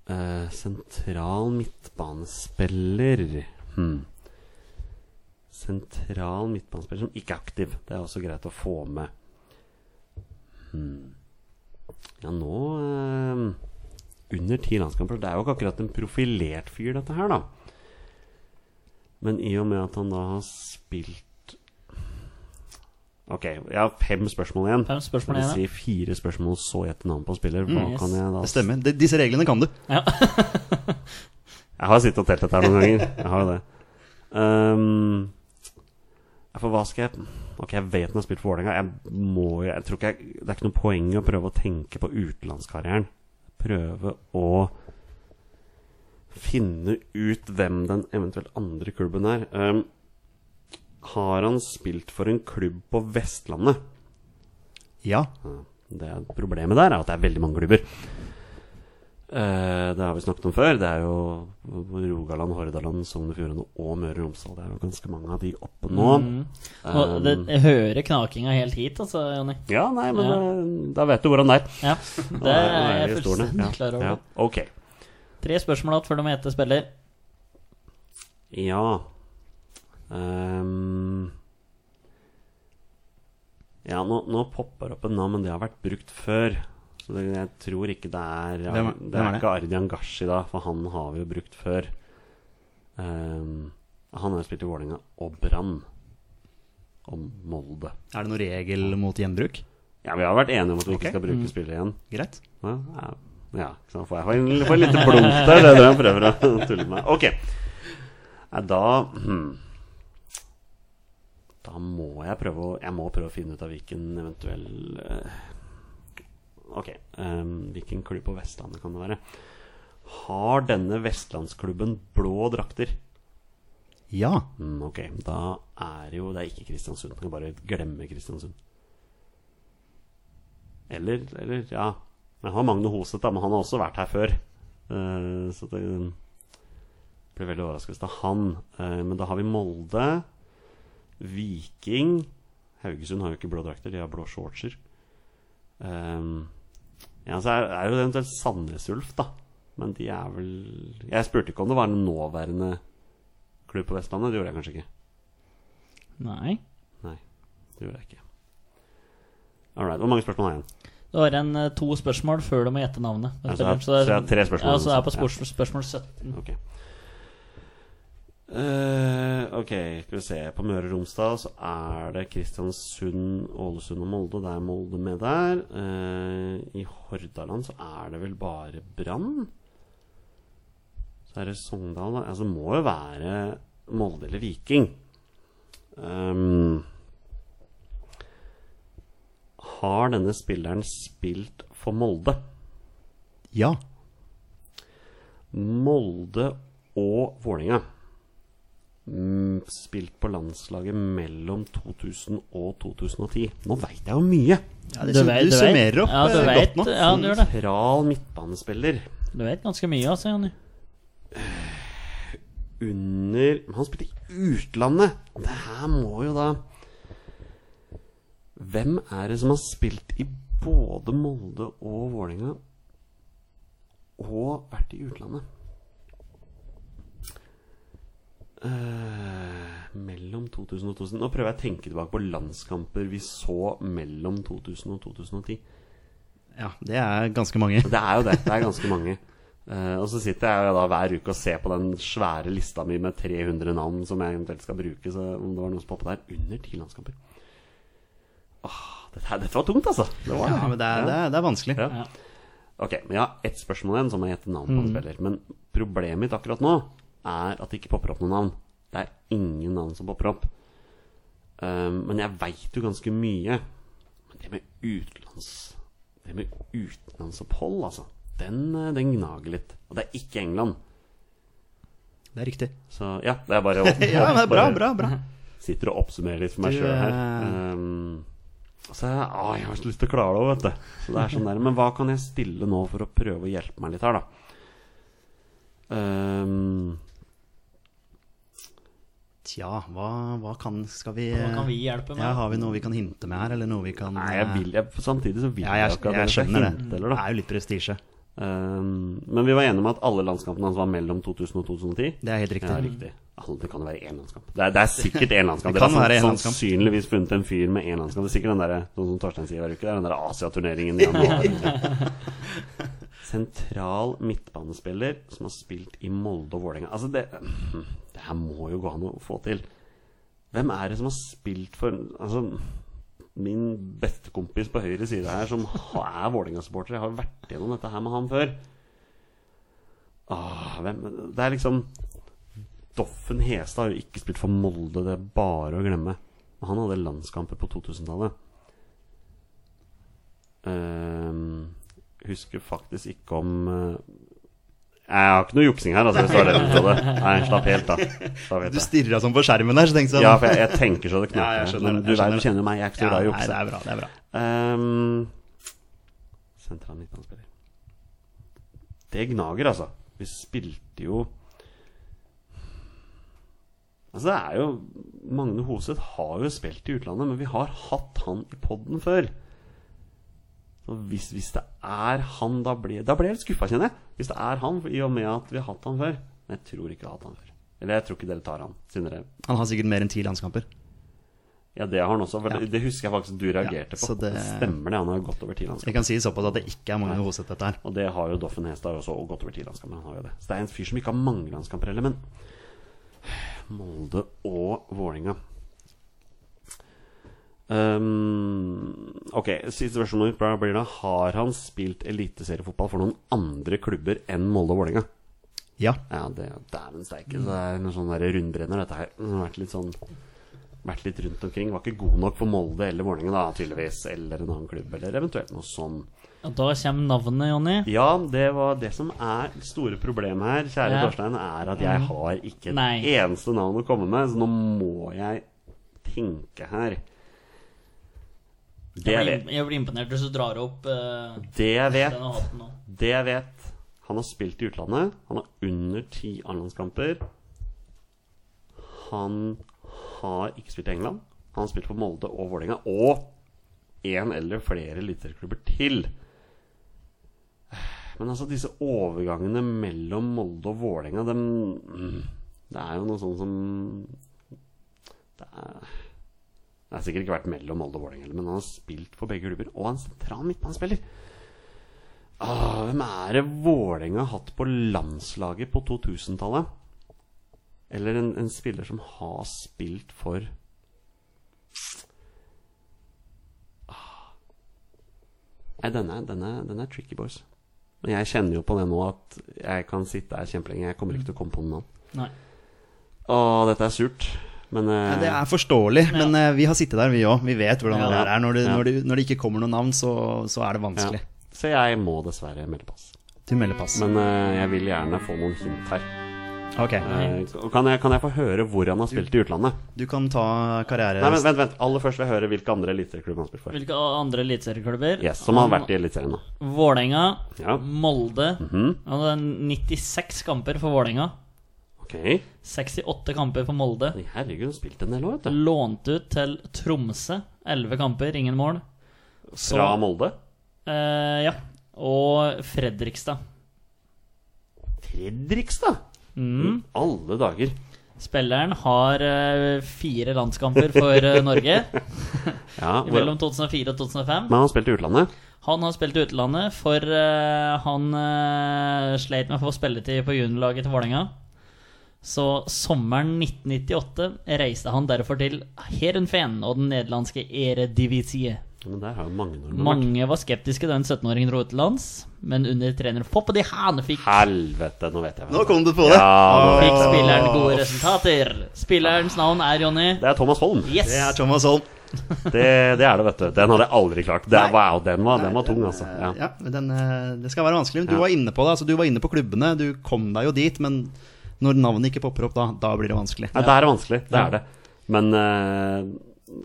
B: Eh, sentral midtbanespiller hmm. Sentral midtbanespiller som ikke er aktiv. Det er også greit å få med. Hmm. Ja, nå eh, Under ti landskamper. Det er jo ikke akkurat en profilert fyr, dette her, da. Men i og med at han da har spilt Ok, jeg har fem spørsmål igjen.
D: Fem spørsmål
B: Det vil
D: igjen, Mm,
B: Si fire spørsmål, så gjette navn på en spiller. Hva
D: yes.
B: kan jeg da
C: Det stemmer. De, disse reglene kan du.
D: Ja.
B: Jeg har sittet og telt dette her noen ganger. Jeg har jo det. Ehm, ja, for hva skal jeg Ok, jeg vet han har spilt for Vålerenga. Jeg må jo jeg tror ikke jeg, Det er ikke noe poeng i å prøve å tenke på utenlandskarrieren. Prøve å finne ut hvem den eventuelt andre klubben er. Ehm, har han spilt for en klubb på Vestlandet.
C: Ja.
B: Det er Problemet der er at det er veldig mange klubber. Eh, det har vi snakket om før. Det er jo Rogaland, Hordaland, Sogn og Fjordane og Møre og Romsdal. Det er jo ganske mange av de oppe nå.
D: Mm. Og
B: Um,
D: det, jeg hører knakinga helt hit, altså, Jonny.
B: Ja, nei, men
D: Ja.
B: eh, da vet du hvordan det er.
D: Ja, det er
B: Da
D: jeg
B: vi i stolen,
D: fullstendig klar over.
B: Ja. Ok.
D: Tre spørsmål igjen før du må gjette spiller.
B: Ja Ehm. Ja, nå, nå popper opp en navn, men det har vært brukt før. Så det, jeg tror ikke det er Det
C: Hvem er-
B: er,
C: hvem er det?
B: ikke Ardian Gashi, da, for han har vi jo brukt før. Ehm, han har jo spilt i Vålerenga og Brann. Og Molde.
C: Er det noen regel mot gjenbruk?
B: Ja, vi har vært enige om at vi
C: Ok. Mm.
B: ikke skal bruke spillere igjen.
C: Greit.
B: Ja, ja, ja ikke sant? Får jeg får en, får en liten blunk der, det er det jeg prøver å tulle med. Ok. Nei, da hmm. Da må jeg prøve å Jeg må prøve å finne ut av hvilken eventuell eh, Ok. ehm, hvilken klubb på Vestlandet kan det være? Har denne vestlandsklubben blå drakter?
C: Ja.
B: Mm, ok, da er jo Det er ikke Kristiansund. Jeg kan bare glemme Kristiansund. Eller, eller Ja. Jeg har Magne Hoseth, da, men han har også vært her før. Eh, så det um, blir veldig overraskelse av han. Eh, men da har vi Molde, Viking Haugesund har jo ikke blå drakter, de har blå shortser. Ehm, ja, så er, er jo eventuelt Sandnes Ulf, da. Men de er vel Jeg spurte ikke om det var en nåværende klubb på Vestlandet. Det gjorde jeg kanskje ikke.
D: Nei.
B: Nei, det gjorde jeg ikke. Alright, Hvor mange spørsmål har jeg igjen?
D: Du har igjen eh, to spørsmål før du må gjette navnet. på
B: Altså, jeg har-
D: spilleren,
B: så
D: det er-
B: jeg har tre spørsmål.
D: Ja, så det er på spørs- spørsmål 17.
B: Ok. Eh, ok, skal vi se. På Møre og Romsdal så er det Kristiansund, Ålesund og Molde. Det er Molde med der. Eh, I Hordaland så er det vel bare Brann. Så er det Sogndal. da. Altså det må jo være Molde eller Viking. Ehm, har denne spilleren spilt for Molde?
C: Ja.
B: Molde og Vålinga Spilt på landslaget mellom 2000 og 2010. Nå veit jeg jo mye!
C: det sum-
D: vet-
C: du
D: vet-
C: summerer opp,
D: ja, du
C: eh,
D: vet,
C: godt nå.
D: Ja, du gjør det.
B: Sentral midtbanespiller
D: Du vet ganske mye, altså, Jonny.
B: under Men han spilte i utlandet! Det her må jo da Hvem er det som har spilt i både Molde og Vålinga og vært i utlandet? Eh, mellom 2000 og 2000 Nå prøver jeg å tenke tilbake på landskamper vi så mellom 2000 og 2010.
C: Ja, det er ganske mange.
B: Det er jo det. Det er ganske mange. Eh, og så sitter jeg jo da hver uke og ser på den svære lista mi med 300 navn som jeg eventuelt skal bruke, så om det var noe som poppet der under ti landskamper. Åh, dette, her- dette var tungt, altså. Det var det.
C: Ja, men det er, det er, det er vanskelig.
B: Ja. Ok, men jeg har ett spørsmål igjen, så må jeg gjette navn på en spiller. Men problemet mitt akkurat nå er at det ikke popper opp noen navn. Det er ingen navn som popper opp. Um, men jeg veit jo ganske mye. Men det med utenlands Det med utenlandsopphold, altså, den, eh, den gnager litt. Og det er ikke England.
C: Det er riktig.
B: Så ja, det er bare å
C: Ja, men det er bra,
B: bare-
C: bra, bra.
B: sitter og oppsummerer litt for meg
C: Du,
B: sjøl her.
C: eh,
B: Ehm, og så er jeg, å, jeg har så lyst til å klare det òg, vet du. Så det er sånn der, men hva kan jeg stille nå for å prøve å hjelpe meg litt her, da? Ehm,
C: Tja, hva, hva kan Skal vi
D: Hva kan vi hjelpe med?
C: Ja, Har vi noe vi kan hinte med her, eller noe vi kan
B: nei, jeg vil jeg, samtidig så vil
C: Ja, jeg,
B: jo ikke at
C: jeg,
B: dere skal
C: skjønner det.
B: hinte,
C: Det
B: eller, da.
C: er jo litt prestisje.
B: Ehm, men vi var enige om at alle landskampene hans var mellom 2000 og 2010?
C: Det er helt riktig.
B: Ja, riktig. Alle- Altså, Det kan jo være én landskamp. Det er, det er sikkert én landskamp.
C: Det
B: Dere
C: kan
B: har
C: være én landskamp.
B: sannsynligvis funnet en fyr med én landskamp. Det er sikkert den der, sånn som Torstein sier hver uke, det er den der Asia-turneringen i januar. Sentral midtbanespiller som har spilt i Molde og Vålerenga. Altså, det Det her må jo gå an å få til. Hvem er det som har spilt for Altså, min bestekompis på høyre side her, som er Vålerenga-supporter, jeg har vært gjennom dette her med han før. Åh, Ah, hvem Det er liksom Doffen Hestad har jo ikke spilt for Molde, det er bare å glemme. Og han hadde landskamper på 2000-tallet. Ehm, husker faktisk ikke om eh, Jeg har ikke noe juksing her, altså. Hvis det var det du trodde. Nei, slapp helt av. Slapp helt
C: Du
B: av.
C: stirra sånn på skjermen der, så tenkte jeg
B: Ja, for jeg, jeg tenker så det
C: Ja, jeg
B: knaker.
C: skjønner
B: Men
C: det,
B: du
C: jeg
B: vet,
C: skjønner
B: du kjenner meg, jeg er ikke så glad i å
C: Nei, det
B: jukse.
C: er bra. det er bra
B: Ehm, Sentral midtbanespiller. Det gnager, altså. Vi spilte jo Altså, det er jo Magne Hoseth har jo spilt i utlandet, men vi har hatt han i poden før. Så hvis, hvis det er han, da ble, da ble jeg litt skuffa, kjenner jeg. Hvis det er han, i og med at vi har hatt han før. Men jeg tror ikke vi har hatt han før. Eller jeg tror ikke dere tar han, siden dere
C: Han har sikkert mer enn ti landskamper.
B: Ja, det har han også. For
C: Ja.
B: det, det husker jeg faktisk du reagerte
C: så
B: på.
C: det-
B: Det... Stemmer det, han har jo gått over ti landskap.
C: Jeg kan si såpass at det ikke er Magne Hoseth, dette her.
B: Og det har jo Doffen Hestad også, og godt over ti landskamper. Han har jo det. Så det er en fyr som ikke har mange landskamper heller, men Molde og Vålinga Ehm, ok, siste spørsmål bra blir da Har han spilt eliteseriefotball for noen andre klubber enn Molde og Vålinga?
C: Ja.
B: Ja, det dæven steike. Det er en sånn der rundbrenner, dette her. Det har vært litt sånn Vært litt rundt omkring. Var ikke god nok for Molde eller Vålinga da, tydeligvis. Eller en annen klubb, eller eventuelt noe sånn
D: Og da kommer navnet, Jonny.
B: ja, det var det som er store problemet her, kjære
D: Ja. Mm.
B: Torstein, er at jeg har ikke et
D: Nei.
B: eneste navn å komme med, så nå må jeg tenke her. Det jeg
D: Jeg
B: vet,
D: blir, jeg blir imponert hvis du drar opp eh,
B: det jeg vet,
D: denne hatten nå.
B: det jeg vet Han har spilt i utlandet. Han har under ti A-landskamper. Han har ikke spilt i England. Han har spilt for Molde og Vålerenga. Og én eller flere eliteserieklubber til. Men altså, disse overgangene mellom Molde og Vålerenga, dem mm, Det er jo noe sånn som Det er det har sikkert ikke vært mellom Molde og Vålerenga, heller, men han har spilt for begge klubber. Og han er en sentral midtbanespiller. Ah, hvem er det Vålerenga har hatt på landslaget på 2000-tallet? Eller en, en spiller som har spilt for Ah. Nei, denne, denne, denne er tricky, boys. Men jeg kjenner jo på det nå at jeg kan sitte her kjempelenge. Jeg kommer ikke til å komme på noen navn.
D: Nei.
B: Å, dette er surt. Men eh,
C: Det er forståelig, men eh, vi har sittet der, vi òg. Vi vet hvordan
B: Ja.
C: det der er. Når det,
B: Ja.
C: når det, når det ikke kommer noe navn, så, så er det vanskelig.
B: ja. Så jeg må dessverre melde pass.
C: Du melder pass.
B: Men eh, jeg vil gjerne få noen hint her.
C: Ok,
B: Eh, kan, jeg, kan jeg få høre hvor han har spilt i utlandet?
C: du kan ta karriere...
D: Eh,
B: Nei, men vent, vent. Aller først vil jeg høre hvilke andre eliteserieklubber han har spilt for.
D: Hvilke andre eliteserieklubber?
B: Yes, som
D: Ah.
B: har vært i Eliteserien, da.
D: Vålerenga,
B: Ja. Mhm.
D: Molde. Han hadde 96 kamper for Vålerenga.
B: Ok.
D: 68 kamper for Molde.
B: Nei, Herregud, han har spilt en del år,
D: Mm,
B: vet du.
D: Lånt ut til Tromsø. 11 kamper, ingen mål. Så-
B: Fra Molde.
D: Eh, ja. Og Fredrikstad.
B: Fredrikstad!
D: Mm.
B: Alle dager.
D: Spilleren har eh, fire landskamper for eh, Norge
B: Ja, hvor...
D: mellom 2004 og 2005.
B: Men han har spilt i utlandet.
D: Han har spilt i utlandet, for eh, han eh, sleit med å få spilletid på juniorlaget til Vålerenga. Så sommeren 1998 reiste han derfor til Heerenveen og den nederlandske Eredivisie.
B: Men der har jo mange nordmenn vært.
D: Mange var skeptiske da en 17-åring dro utenlands, men under trener Foppe de Haan fikk,
B: Helvete, nå vet jeg hvem
C: Nå
B: det er.
C: kom du på det!
B: Ja,
D: fikk spilleren gode resultater. Spillerens navn er Jonny.
B: det er Thomas Holm.
D: Yes!
C: Det er Thomas Holm.
B: Det, det er det, vet du. Den hadde jeg aldri klart. Det er, wow, den var, den var tung, altså.
C: Ja,
B: Ja.
C: men den, eh, det skal være vanskelig. Men du var inne på det, altså, du var inne på klubbene. Du kom deg jo dit, men når navnet ikke popper opp, da, da blir det vanskelig.
B: Nei, det er vanskelig. Det er det. Men eh,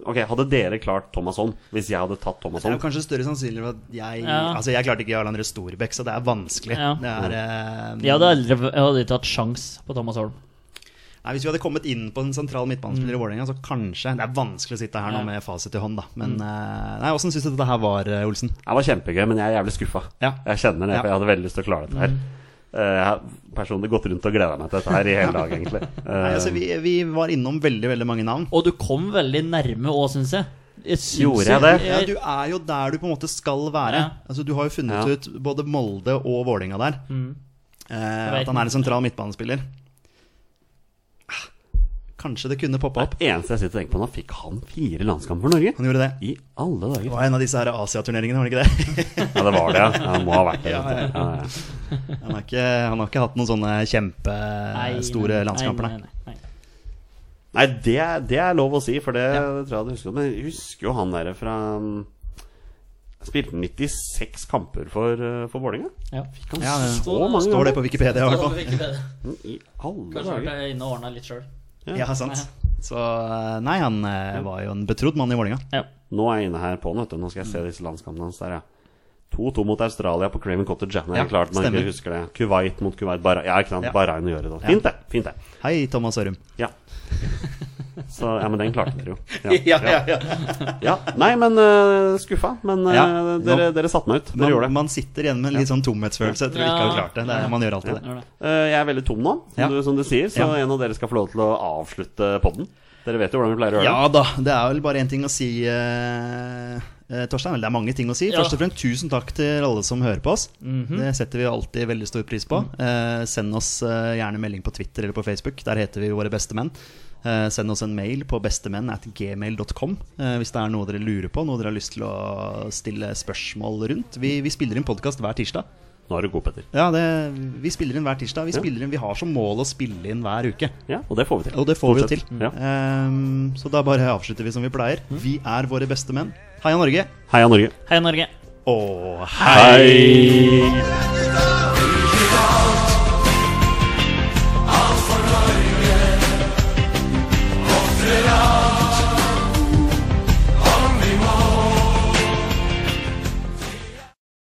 B: Ok, hadde dere klart Thomas Holm hvis jeg hadde tatt Thomas
C: Det er
B: Holm?
C: jo kanskje større sannsynlig for at jeg
D: Ja.
C: Altså, jeg klarte ikke Jarl André Storbekk, så det er vanskelig.
D: Ja. Mm.
C: Det er, eh,
D: Jeg hadde aldri jeg hadde ikke hatt sjans på Thomas Holm.
C: Nei, Hvis vi hadde kommet inn på en sentral midtbanespiller i Vålerenga, så kanskje Det er vanskelig å sitte her nå
D: Mm. Ja. Mm.
C: med fasit i hånd, da. Men eh, nei, åssen syns du dette her var, eh, Olsen?
B: Det var kjempegøy, men jeg er jævlig skuffa.
C: Ja.
B: Jeg kjenner det, for
C: Ja. Mm.
B: jeg hadde veldig lyst til å klare dette her. Eh, Jeg har personlig gått rundt og gleda meg til dette her i hele dag, egentlig.
C: Nei, altså, vi, vi var innom veldig, veldig mange navn.
D: Og du kom veldig nærme òg, syns jeg. jeg syns
B: Gjorde jeg det?
C: Ja, du er jo der du på en måte skal være.
D: Ja.
C: Altså, du har jo funnet
B: Ja.
C: ut både Molde og Vålerenga der. Eh,
D: Mm. vet
C: at han er en sentral midtbanespiller. Ah, Kanskje det kunne poppe opp.
B: Det eneste jeg sitter Eh, og tenker på nå, fikk han fire landskamper for Norge?
C: Han gjorde det.
B: I alle
C: Det
B: dager.
C: var en av disse her Asia-turneringene, var det ikke det?
B: Ja, det var det, ja. Ja, Han må ha vært det.
C: Ja, ja, ja.
B: vet du. Ja, ja.
C: Han har ikke, han har ikke hatt noen sånne Eh,
D: Nei, nei,
C: kjempestore
D: nei,
C: landskamper, nei.
D: nei, nei, nei.
B: Nei, det, er- det er lov å si, for det, tror jeg du husker. Men jeg husker jo han derre fra mm, Spilte 96 kamper for, eh, for Vålerenga.
D: Ja.
B: Fikk han
C: Ja, det-
B: så mange
C: Står det
B: ganger?
C: på Wikipedia i hvert fall.
D: Kanskje
B: I alle
D: vært
B: dager.
D: inne og ordna litt sjøl.
C: Ja, sant. Så eh, nei, han eh, var jo en betrodd mann i Vålinga.
D: Ja.
B: Nå er jeg inne her på den, vet du. Nå skal jeg se disse landskampene hans der, ja. 2-2 mot Australia på Craven Cottage. Ja, det er
C: Ja,
B: klart man
C: stemmer.
B: ikke husker det. Kuwait mot Kuwait. Bara, ja, ikke sant.
C: Ja.
B: Bahrain og Jordan. Fint, det. Fint, det.
C: Hei, Thomas Sørum.
B: Ja. Så, ja, men den klarte dere jo.
C: ja.
B: Ja, Nei, men eh, skuffa. Men eh,
C: Ja,
B: dere,
C: nå-
B: dere satte meg ut. Dere
C: Man,
B: gjorde det.
C: man sitter igjen med en litt sånn tomhetsfølelse etter å ikke ha
D: Ja.
C: klart det. det er, man gjør alltid det.
D: Gjør det.
B: Eh, jeg er veldig tom nå, som,
C: Ja.
B: du, som du sier, så
C: Ja.
B: en av dere skal få lov til å avslutte podden. Dere vet jo hvordan vi pleier å gjøre
C: Ja da, det er vel bare én ting å si, eh, eh, Torstein. Vel, det er mange ting å si.
D: Ja.
C: Først og fremst tusen takk til alle som hører på oss. Det setter vi alltid veldig stor pris på. Eh, send oss eh, gjerne melding på Twitter eller på Facebook. Der heter vi Våre beste menn. Eh, send oss en mail på bestemenn at gmail.com eh, hvis det er noe dere lurer på, noe dere har lyst til å stille spørsmål rundt. Vi, vi spiller inn podkast hver tirsdag.
B: det. Nå er du god, Petter.
C: Ja, det, vi spiller inn hver tirsdag. Vi, spiller inn, vi har som mål å spille inn hver uke.
B: Ja, og det får vi til.
C: Og det får vi jo til.
B: Fortsett. Ja. Mm.
C: Ehm, så da bare avslutter vi som vi pleier. Vi er våre beste menn. Heia Norge!
B: Heia Norge.
D: Hei, Norge.
C: Og
B: Hei!